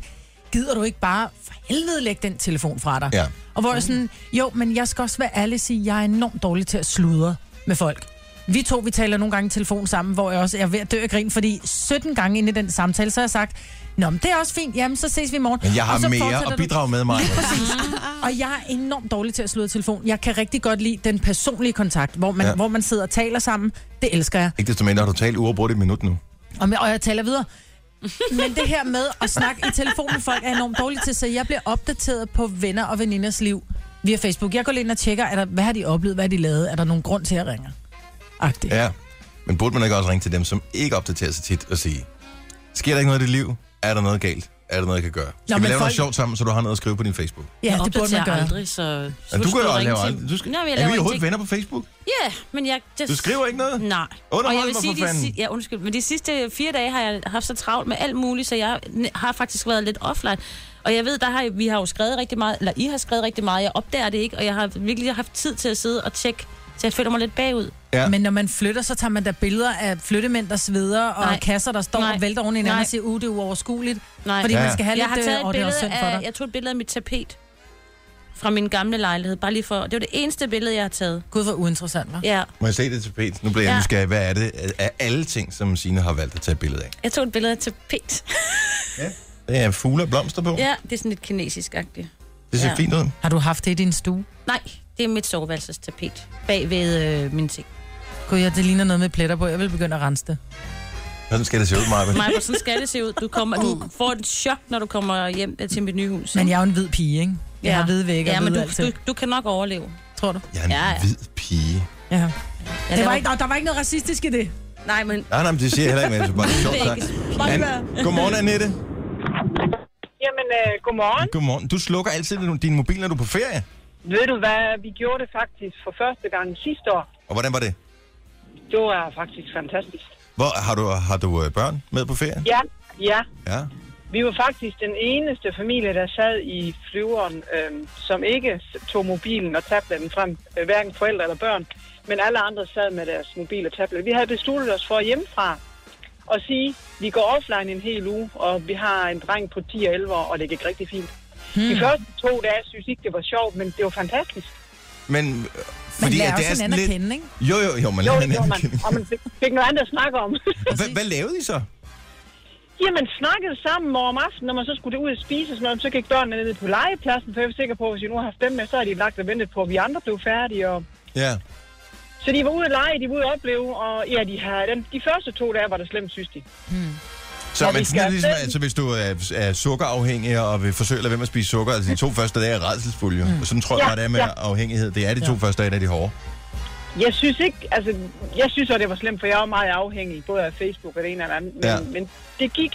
S5: gider du ikke bare for helvede lægge den telefon fra dig?
S1: Ja.
S5: Og hvor jeg sådan, jo, men jeg skal også være ærlig og sige, at jeg er enormt dårlig til at sludre med folk. Vi to, vi taler nogle gange i telefon sammen, hvor jeg også er ved at dø af grin, fordi 17 gange inde i den samtale, så har jeg sagt, Nå, men det er også fint, jamen så ses vi i morgen.
S1: Men jeg
S5: Og så
S1: har mere
S5: fortsætter
S1: at
S5: du.
S1: bidrage med mig.
S5: Og jeg er enormt dårlig til at sludre i telefon. Jeg kan rigtig godt lide den personlige kontakt, hvor man,
S1: Ja.
S5: ja. hvor man sidder og taler sammen. Det elsker jeg.
S1: Ikke desto mindre har du talt uafbrudt et minut nu.
S5: Og, med, og jeg taler videre. Men det her med at snakke i telefon med folk er jeg enormt dårligt til, så jeg bliver opdateret på venner og veninders liv via Facebook. Jeg går lige ind og tjekker, er der, hvad har de oplevet, hvad har de lavet, er der nogen grund til at ringe? Agtigt. Ja.
S1: Ja. Men burde man ikke også ringe til dem, som ikke opdaterer sig tit og sige, sker der ikke noget i dit liv? Er der noget galt? Er der noget, jeg kan gøre? Skal Nå,
S5: men
S1: vi lave folk... noget
S5: folk-
S1: sjovt sammen, så du har noget at skrive på din Facebook?
S5: ja, det burde man gøre. Aldrig.
S4: aldrig, så... så
S1: Ja, du
S4: skal
S1: kan jo aldrig
S4: ringe
S1: lave
S4: til-
S1: aldrig. Du skal...
S4: Nå, men jeg
S1: er
S4: laver
S1: vi overhovedet
S4: ingenting.
S1: venner på Facebook?
S4: Ja, yeah, men jeg... Just...
S1: Du skriver ikke noget?
S4: Nej.
S1: Underhold
S4: Og jeg vil
S1: mig
S4: sige,
S1: for fanden.
S4: de, si- ja, undskyld, men de sidste fire dage har jeg haft så travlt med alt muligt, så jeg n- har faktisk været lidt offline. Og jeg ved, der har, vi har jo skrevet rigtig meget, eller I har skrevet rigtig meget, jeg opdager det ikke, og jeg har virkelig haft tid til at sidde og tjekke, så jeg føler mig lidt bagud.
S1: Ja.
S5: Men når man flytter, så tager man da billeder af flyttemænd, der sveder, og
S4: Nej.
S5: Nej. kasser, der står
S4: Nej.
S5: Nej. og vælter oven i hinanden
S4: Nej.
S5: og siger, uh, det er uoverskueligt.
S4: Nej.
S5: Fordi
S1: Ja.
S5: ja. man skal have
S4: jeg har
S5: lidt,
S4: taget
S5: øh,
S4: et
S5: og det er
S4: billede
S5: også synd for
S4: af,
S5: dig.
S4: jeg tog et billede af mit tapet fra min gamle lejlighed, bare lige for, det var det eneste billede, jeg har taget.
S5: Gud, hvor uinteressant, hva'?
S4: Ja,
S1: Må jeg se det til Pete? Nu bliver jeg
S4: Ja.
S1: nysgerrig. Hvad er det af alle ting, som Signe har valgt at tage et billede af?
S4: jeg tog et billede af tapet.
S1: Det er fugle og blomster på.
S4: ja, det er sådan lidt kinesisk-agtigt.
S1: Det ser
S4: Ja.
S1: fint ud.
S5: Har du haft det i din stue?
S4: Nej, det er mit soveværelsestapet bag ved øh, min ting.
S5: Gud, ja, det ligner noget med pletter på. Jeg vil begynde at rense det.
S1: Sådan skal det se ud, Marvin.
S4: Maja, sådan skal det se ud. Du, kommer, du får et chok, når du kommer hjem øh, til mit nye hus.
S5: Uh. Men jeg er jo en hvid pige, ikke? Jeg har hvide vægge
S4: ja,
S5: og
S4: men
S5: hvide
S4: du,
S5: alting.
S4: du, du, kan nok overleve.
S5: Tror du?
S1: Jeg er en
S4: Ja, ja.
S1: hvid pige.
S5: Ja.
S4: Jeg
S5: Det var
S4: laver-
S5: ikke, der, der var ikke noget racistisk i det.
S4: Nej, men...
S1: Nej, nej, men det siger jeg heller ikke, men det er bare sjovt
S4: Det er ikke-
S1: sagt. An- Godmorgen, Annette.
S6: Jamen, øh, godmorgen.
S1: Godmorgen. Du slukker altid din- din mobil, når du er på ferie.
S6: Ved du hvad, vi gjorde det faktisk for første gang sidste år.
S1: Og hvordan var det?
S6: Det var faktisk fantastisk.
S1: Hvor, har, du, har du øh, børn med på ferie?
S6: Ja, ja.
S1: Ja.
S6: Vi var faktisk den eneste familie, der sad i flyveren, øh, som ikke s- tog mobilen og tabletten frem. Øh, Hverken forældre eller børn. Men alle andre sad med deres mobil og tablet. Vi havde besluttet os for hjemmefra at sige, vi går offline en hel uge, og vi har en dreng på 10 og 11 år, og det gik rigtig fint. Hmm. De første to dage synes jeg ikke, det var sjovt, men det var fantastisk.
S1: Men, øh,
S5: Man
S1: fordi,
S5: lærer
S1: at det
S5: også
S1: er sådan
S5: hinanden at
S1: lidt...
S5: kende, ikke?
S1: Jo, jo, jo, man
S6: Jo,
S1: lærer
S6: det gjorde
S1: hinanden
S6: man.
S1: at kende.
S6: Og man fik, fik noget andet at snakke om.
S1: Og Hvad, hvad lavede I så?
S6: Jamen, snakkede sammen over om aftenen, når man så skulle ud og spise, og sådan noget, så gik børnene ned på legepladsen, for jeg var sikker på, at hvis vi nu har haft dem med, så har de lagt og ventet på, at vi andre blev færdige. Og...
S1: Ja.
S6: Så de var ude at lege, de var ude at opleve, og ja, de, havde den. de første to dage var det slemt, synes de.
S1: Så
S6: Ja,
S1: men sådan er
S6: vi
S1: det
S6: skal
S1: ligesom,
S6: selv-
S1: altså, hvis du er, er sukkerafhængig og vil forsøge at lade være med at spise sukker, altså de to første dage er redselsfulde. Mm. Og sådan tror jeg
S6: Ja,
S1: bare, det er med
S6: ja.
S1: afhængighed. Det er de to første dage, der er de hårde.
S6: Jeg synes ikke, altså, jeg synes også, det var slemt, for jeg var meget afhængig, både af Facebook og det ene og det andet, men,
S1: Ja.
S6: ja. men det gik.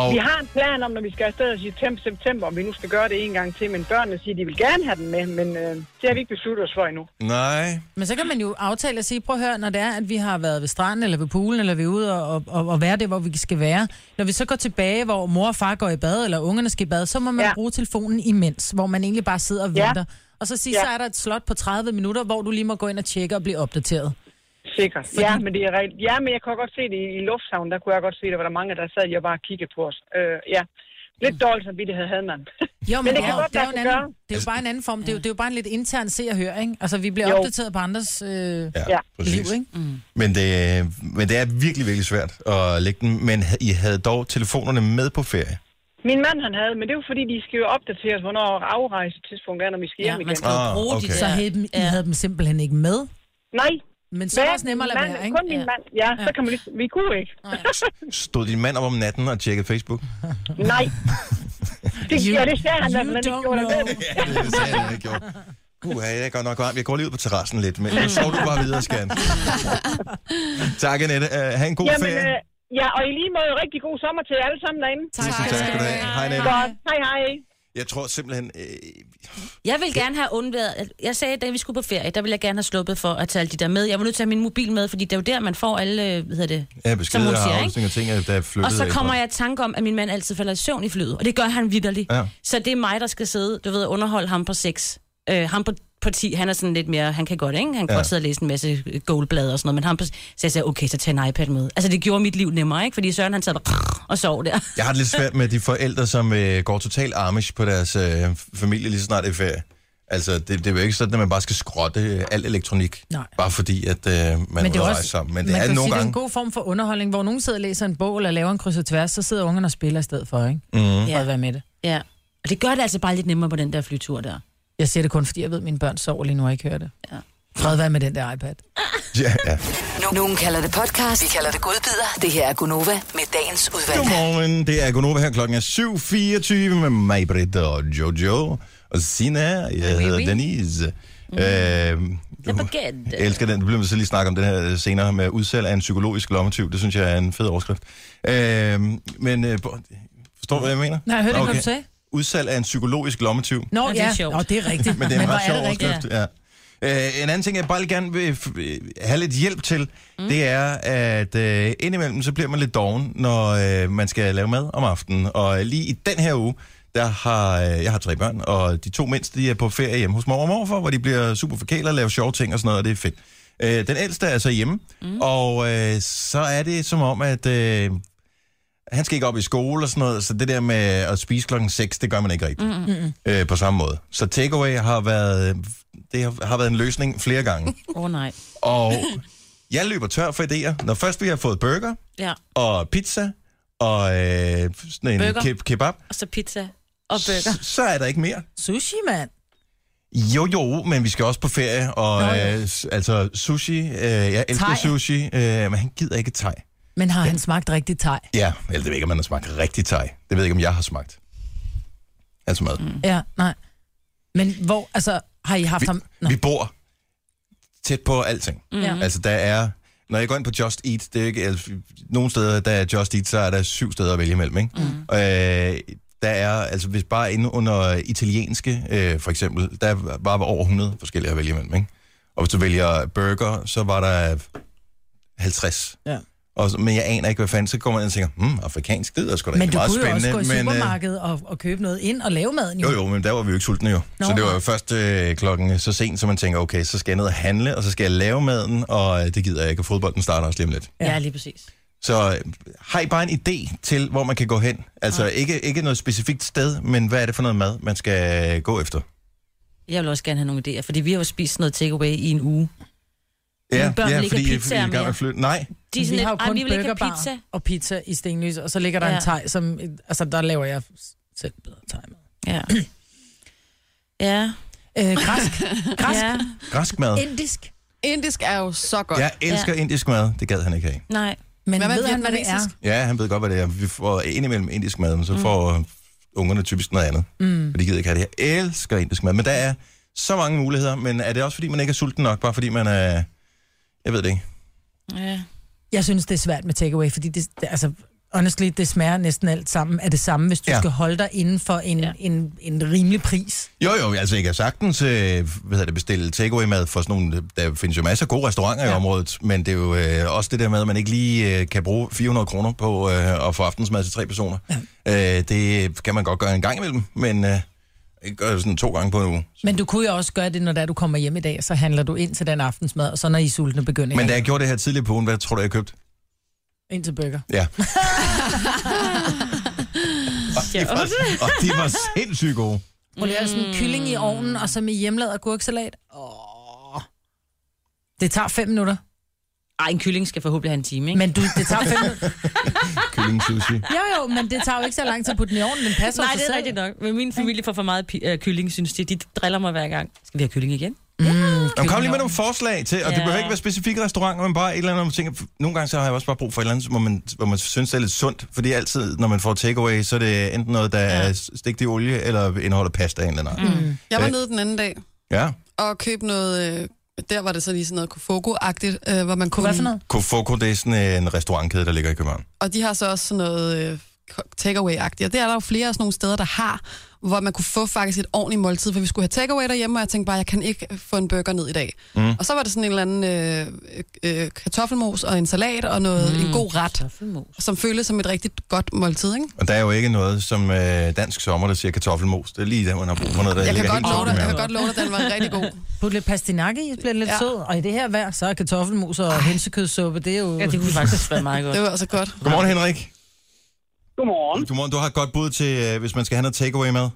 S1: Og,
S6: Vi har en plan om, når vi skal afsted i septem- september, om vi nu skal gøre det en gang til, men børnene siger, de vil gerne have den med, men øh, det har vi ikke besluttet os for endnu.
S1: Nej.
S5: Men så kan man jo aftale og sige, prøv at høre, når det er, at vi har været ved stranden, eller ved poolen, eller vi er ude og, og, og være det, hvor vi skal være. Når vi så går tilbage, hvor mor og far går i bad, eller ungerne skal i bad, så må man
S6: Ja.
S5: ja. bruge telefonen imens, hvor man egentlig bare sidder og
S6: Ja.
S5: venter. Og så sige,
S6: Ja.
S5: så er der et slot på 30 minutter, hvor du lige må gå ind og tjekke og blive opdateret.
S6: Sikkert. Fordi... Ja, men det er rent. Ja, men jeg kunne godt se det i, i lufthavnen, der kunne jeg godt se, der var der mange, der sad lige og bare kiggede på os. Øh, ja.
S1: Mm.
S6: Lidt dårlig samvittighed havde man.
S5: Jo, men,
S6: Men det
S5: det,
S6: kan
S5: er, jo-
S6: godt
S5: det, er jo en
S6: lade sig
S5: anden,
S6: gøre.
S5: det er
S1: Altså-
S5: jo bare en anden form. Det er jo, det er jo bare en lidt intern se og hør, ikke? Altså, vi bliver
S6: Jo.
S5: opdateret på andres øh, ja.
S1: Ja,
S6: Ja.
S1: præcis.
S5: liv, ikke?
S4: Mm.
S1: Men det, men det er virkelig, virkelig svært at lægge den. Men I havde dog telefonerne med på ferie.
S6: Min mand han havde, men det er jo fordi, de skal jo opdateres, hvornår afrejsetidspunktet er, når vi skal
S4: Ja,
S6: hjem ja,
S4: man
S6: igen.
S4: skal jo
S1: Ah,
S4: bruge de
S1: okay.
S5: Så
S4: der...
S5: havde, dem- I havde dem simpelthen ikke med.
S6: Nej,
S5: Men så er det også nemmere at lade være, ikke?
S6: Kun min
S4: Ja.
S6: mand, ja, ja. så kan man lige, vi kunne ikke.
S1: Stod din mand op om natten og tjekkede Facebook?
S6: Nej. Det,
S5: You-
S6: ja, det sagde han,
S5: you
S6: at man ikke
S5: don't
S6: gjorde det.
S5: know.
S6: ved det.
S1: Ja, det sagde jeg, jeg gjorde. Uh, jeg er godt nok varm. Jeg går lige ud på terrassen lidt, men så du bare videre, skat. tak, Annette. Uh, ha' en god
S6: Jamen,
S1: ferie.
S6: øh, ja, og i lige måde rigtig god sommer til jer alle sammen derinde.
S1: Tusind tak skal du have. Hej, Annette.
S6: Godt. Hej, hej.
S1: Jeg tror simpelthen... Øh,
S4: Jeg vil gerne have undværet... at- Jeg sagde, da vi skulle på ferie, der ville jeg gerne have sluppet for at tage alle de der med. Jeg var nødt til at have min mobil med, fordi det er jo der, man får alle... øh, Hvad hedder det?
S1: Ja,
S4: Som
S1: beskeder
S4: hun
S1: og
S4: siger,
S1: aflysninger og ting, der er flyttet
S4: Og så
S1: af
S4: kommer
S1: fra.
S4: jeg i tanke om, at min mand altid falder i søvn i flyet, og det gør han vidderligt.
S1: Ja.
S4: Så det er mig, der skal sidde, du ved, og underholde ham på sex. Øh, ham på, på 10, han er sådan lidt mere, han kan godt, ikke? Han kan
S1: Ja.
S4: ja. godt sidde og læse en masse øh, goldblade og sådan noget, men ham på, så jeg sagde, okay, så tag en iPad med. Altså, det gjorde mit liv nemmere, ikke? Fordi Søren, han sad bare og sov der.
S1: Jeg har det lidt svært med de forældre, som øh, går totalt amish på deres øh, familie lige så snart det er ferie. Altså, det, det er jo ikke sådan, at man bare skal skrotte øh, al elektronik,
S5: Nej.
S1: bare fordi, at øh, man
S5: det
S1: vil
S5: er
S1: rejse sammen. Men det
S5: man
S1: er
S5: kan
S1: nogle
S5: sige, det er en
S1: gange...
S5: god form for underholdning, hvor nogen sidder og læser en bog eller laver en kryds og tværs, så sidder ungerne og spiller i stedet for, ikke?
S1: Mhm.
S5: Mm. For
S4: Ja.
S5: at være med det.
S4: Ja. Og det gør det altså bare lidt nemmere på den der flytur der.
S5: Jeg siger det kun, fordi jeg ved, at mine børn sover lige nu og ikke hører det.
S4: Ja.
S5: Fred være med den der iPad.
S1: Ja, ja.
S7: Nu- Nogen kalder det podcast, vi kalder det godbider. Det her er Gunova med dagens udvalgte.
S1: Godmorgen, det er Gunova her. Klokken er 7.24 med mig, Britt og Jojo og Sina. Jeg hedder Denise. Mm. Øh,
S4: Det
S1: du- jeg elsker den. Du bliver vi så lige snakke om den her øh, senere med udsal af en psykologisk lommetyv. Det synes jeg er en fed overskrift. Øh, men øh, forstår du, hvad jeg mener?
S5: Nej, jeg hørte ikke,
S1: Okay.
S5: hvad du sagde.
S1: Udsalg af en psykologisk lommetyv.
S5: Nå,
S4: Ja, det er
S5: ja.
S4: sjovt.
S5: Nå, det er rigtigt.
S1: Men det er en
S5: hvor
S1: ret sjov
S5: det rigtigt.
S1: overskrift, ja. Øh, en anden ting, jeg bare lige gerne vil f- øh, have lidt hjælp til, mm. det er, at øh, indimellem så bliver man lidt doven, når øh, man skal lave mad om aftenen. Og øh, lige i den her uge, der har øh, jeg har tre børn, og de to mindste de er på ferie hjemme hos mor og morfar, hvor de bliver super forkælet og laver sjove ting og sådan noget, og det er fedt. Øh, den ældste er så hjemme, mm. og øh, så er det som om, at... Øh, han skal ikke op i skole og sådan noget, så det der med at spise klokken 6, det gør man ikke rigtigt mm-hmm. øh, på samme måde. Så takeaway har været, det har, har været en løsning flere gange.
S4: Åh oh, nej.
S1: Og jeg løber tør for idéer. Når først vi har fået burger
S4: Ja.
S1: og pizza og øh, sådan en
S4: Burger.
S1: ke- kebab,
S4: Og så pizza og burger.
S1: så, så er der ikke mere.
S5: Sushi, mand.
S1: Jo, jo, men vi skal også på ferie, og
S5: Nå,
S1: øh,
S5: ja.
S1: s- altså sushi, øh, jeg elsker
S5: Thai.
S1: sushi, øh, men han gider ikke thai.
S5: Men har han smagt rigtig teg?
S1: Ja, eller det ved jeg ikke, om han har smagt rigtig thai. Det ved jeg ikke, om jeg har smagt. Altså mad. Mm.
S5: Ja, nej. Men hvor, altså, har I haft
S1: vi,
S5: ham... Nå.
S1: vi bor tæt på alting. Mm.
S5: Ja.
S1: Altså, der er... Når jeg går ind på Just Eat, det er ikke... Altså, nogle steder, der er Just Eat, så er der syv steder at vælge imellem, ikke? Mm. Øh, der er, altså hvis bare inde under italienske, øh, for eksempel, der var over 100 forskellige at vælge imellem, ikke? Og hvis du vælger burger, så var der 50.
S5: Ja.
S1: Og, så- men jeg aner ikke, hvad fanden, så kommer man ind og tænker, hmm, afrikansk, det lyder sgu da
S5: Men
S1: egentlig
S5: du
S1: meget
S5: kunne jo
S1: spændende.
S5: også gå i
S1: men, øh,
S5: supermarkedet og, og købe noget ind og lave maden, jo.
S1: jo, jo, men der var vi jo ikke sultne jo. Nå,
S5: Nå,
S1: så det var jo
S5: nej.
S1: først øh, klokken så sent, så man tænker, okay, så skal jeg ned og handle, og så skal jeg lave maden, og øh, det gider jeg ikke, og fodbolden starter også lige om lidt.
S4: Ja. ja, lige præcis.
S1: Så øh, har I bare en idé til, hvor man kan gå hen? Altså ikke, ikke noget specifikt sted, men hvad er det for noget mad, man skal gå efter?
S4: Jeg vil også gerne have nogle idéer, fordi vi har jo spist sådan noget takeaway i en uge. Mine børn vil ikke have
S1: I- I
S4: pizzaer
S1: er i gang med
S4: mere.
S1: at flytte. Nej,
S4: De er sådan
S5: vi
S4: lidt,
S5: har jo
S4: "Ej,
S5: kun
S4: vi vil ikke have
S5: burgerbar
S4: pizza.
S5: og pizza i Stenløs, og så ligger der ja.
S4: Ja.
S5: en teg, som... Altså, der laver jeg selv bedre teg med.
S4: Ja. ja.
S5: Øh, græsk. græsk.
S4: Ja.
S1: græsk mad.
S5: Indisk.
S3: Indisk er jo så godt.
S1: Jeg elsker indisk mad. Det gad han ikke have.
S4: Nej.
S5: Men
S3: Hvad med
S5: ved han, hvad det er?
S3: vietnamesisk?
S1: Ja, han ved godt, hvad det er. Vi får indimellem indisk mad, men så får mm. ungerne typisk noget andet. Mm. For de gider ikke have det. Jeg elsker indisk mad, men der er så mange muligheder. Men er det også, fordi man ikke er sulten nok? Bare fordi man er... Jeg ved det ikke.
S4: Ja.
S5: Jeg synes, det er svært med takeaway, fordi det, det altså, honestly, det smager næsten alt sammen af det samme, hvis du
S1: Ja.
S5: ja. skal holde dig inden for en, ja. en, en rimelig pris.
S1: Jo, jo, altså jeg kan sagtens øh, hvad hedder det, bestille takeaway-mad for sådan nogle, der findes jo masser af gode restauranter ja. i området, men det er jo øh, også det der med, at man ikke lige øh, kan bruge 400 kroner på øh, at få aftensmad til tre personer. Ja. Øh, det kan man godt gøre en gang imellem, men øh, ikke gøre det sådan to gange på en uge.
S5: Men du kunne jo også gøre det, når det er, du kommer hjem i dag, så handler du ind til den aftensmad, og så når I er sultne begynder
S1: Men
S5: men
S1: da
S5: der...
S1: jeg gjorde det her tidligere på ugen, hvad tror du, jeg købte?
S5: ind til burger.
S1: Ja. og, de var, og de var sindssygt gode.
S5: Prøv lige at have sådan
S3: Mm.
S5: en kylling i ovnen, og så med hjemmelavet agurksalat. Åh. Det tager fem minutter.
S4: Ej, en kylling skal forhåbentlig have en time, ikke?
S5: Men du, det tager fem minutter.
S1: Kylling sushi.
S5: Jo, Ah! jo, men det tager jo ikke så lang tid at putte den i ovnen. Den passer
S4: Nej,
S5: jo sig
S4: det er
S5: selv.
S4: rigtigt nok. Men min familie får for meget pi- øh, kylling, synes de. De driller mig hver gang. Skal vi have kylling igen?
S1: Jamen, kom lige med nogle forslag til, og det
S4: Ja.
S1: behøver ikke være specifikke restauranter, men bare et eller andet, hvor man tænker, nogle gange så har jeg også bare brug for et eller andet, hvor man, hvor man synes, det er lidt sundt, fordi altid, når man får takeaway, så er det enten noget, der er stegt i olie, eller indeholder pasta af en eller anden. Mm.
S3: Jeg var
S1: Øh.
S3: nede den anden dag
S1: Ja.
S3: og købte noget... Øh, der var det så lige sådan noget Kofoko-agtigt, øh, hvor man kunne...
S5: Hvad for noget?
S1: Kofoko, det er sådan en restaurantkæde, der ligger i København.
S3: Og de har så også sådan noget øh, takeaway-agtigt. Og det er der jo flere af sådan nogle steder, der har, hvor man kunne få faktisk et ordentligt måltid, for vi skulle have takeaway derhjemme, og jeg tænkte bare, jeg kan ikke få en burger ned i dag. Mm.
S1: Mhm.
S3: Og så var det sådan en eller anden øh, øh, kartoffelmos og en salat og noget, mm. en god ret,
S4: Kartoffelmos.
S3: som føltes som et rigtig godt måltid, ikke?
S1: Og der er jo ikke noget som øh, dansk sommer, der siger kartoffelmos. Det er lige der, man har brug for noget, der
S3: Jeg kan,
S1: ligger
S3: godt
S1: helt
S3: love
S1: sjovt i
S3: dig, jeg kan
S1: maven.
S3: godt love dig, den var rigtig god.
S5: Put lidt pastinak i, så bliver det lidt
S3: Ja.
S5: ja. sød. Og i det her vejr, så er kartoffelmos og hønsekødssuppe, det er jo...
S4: Ja, det kunne faktisk være meget godt.
S3: Det var altså godt.
S1: Godmorgen, Henrik.
S8: Godmorgen.
S1: Godmorgen. Du har et godt bud til, øh, hvis man skal have noget takeaway med.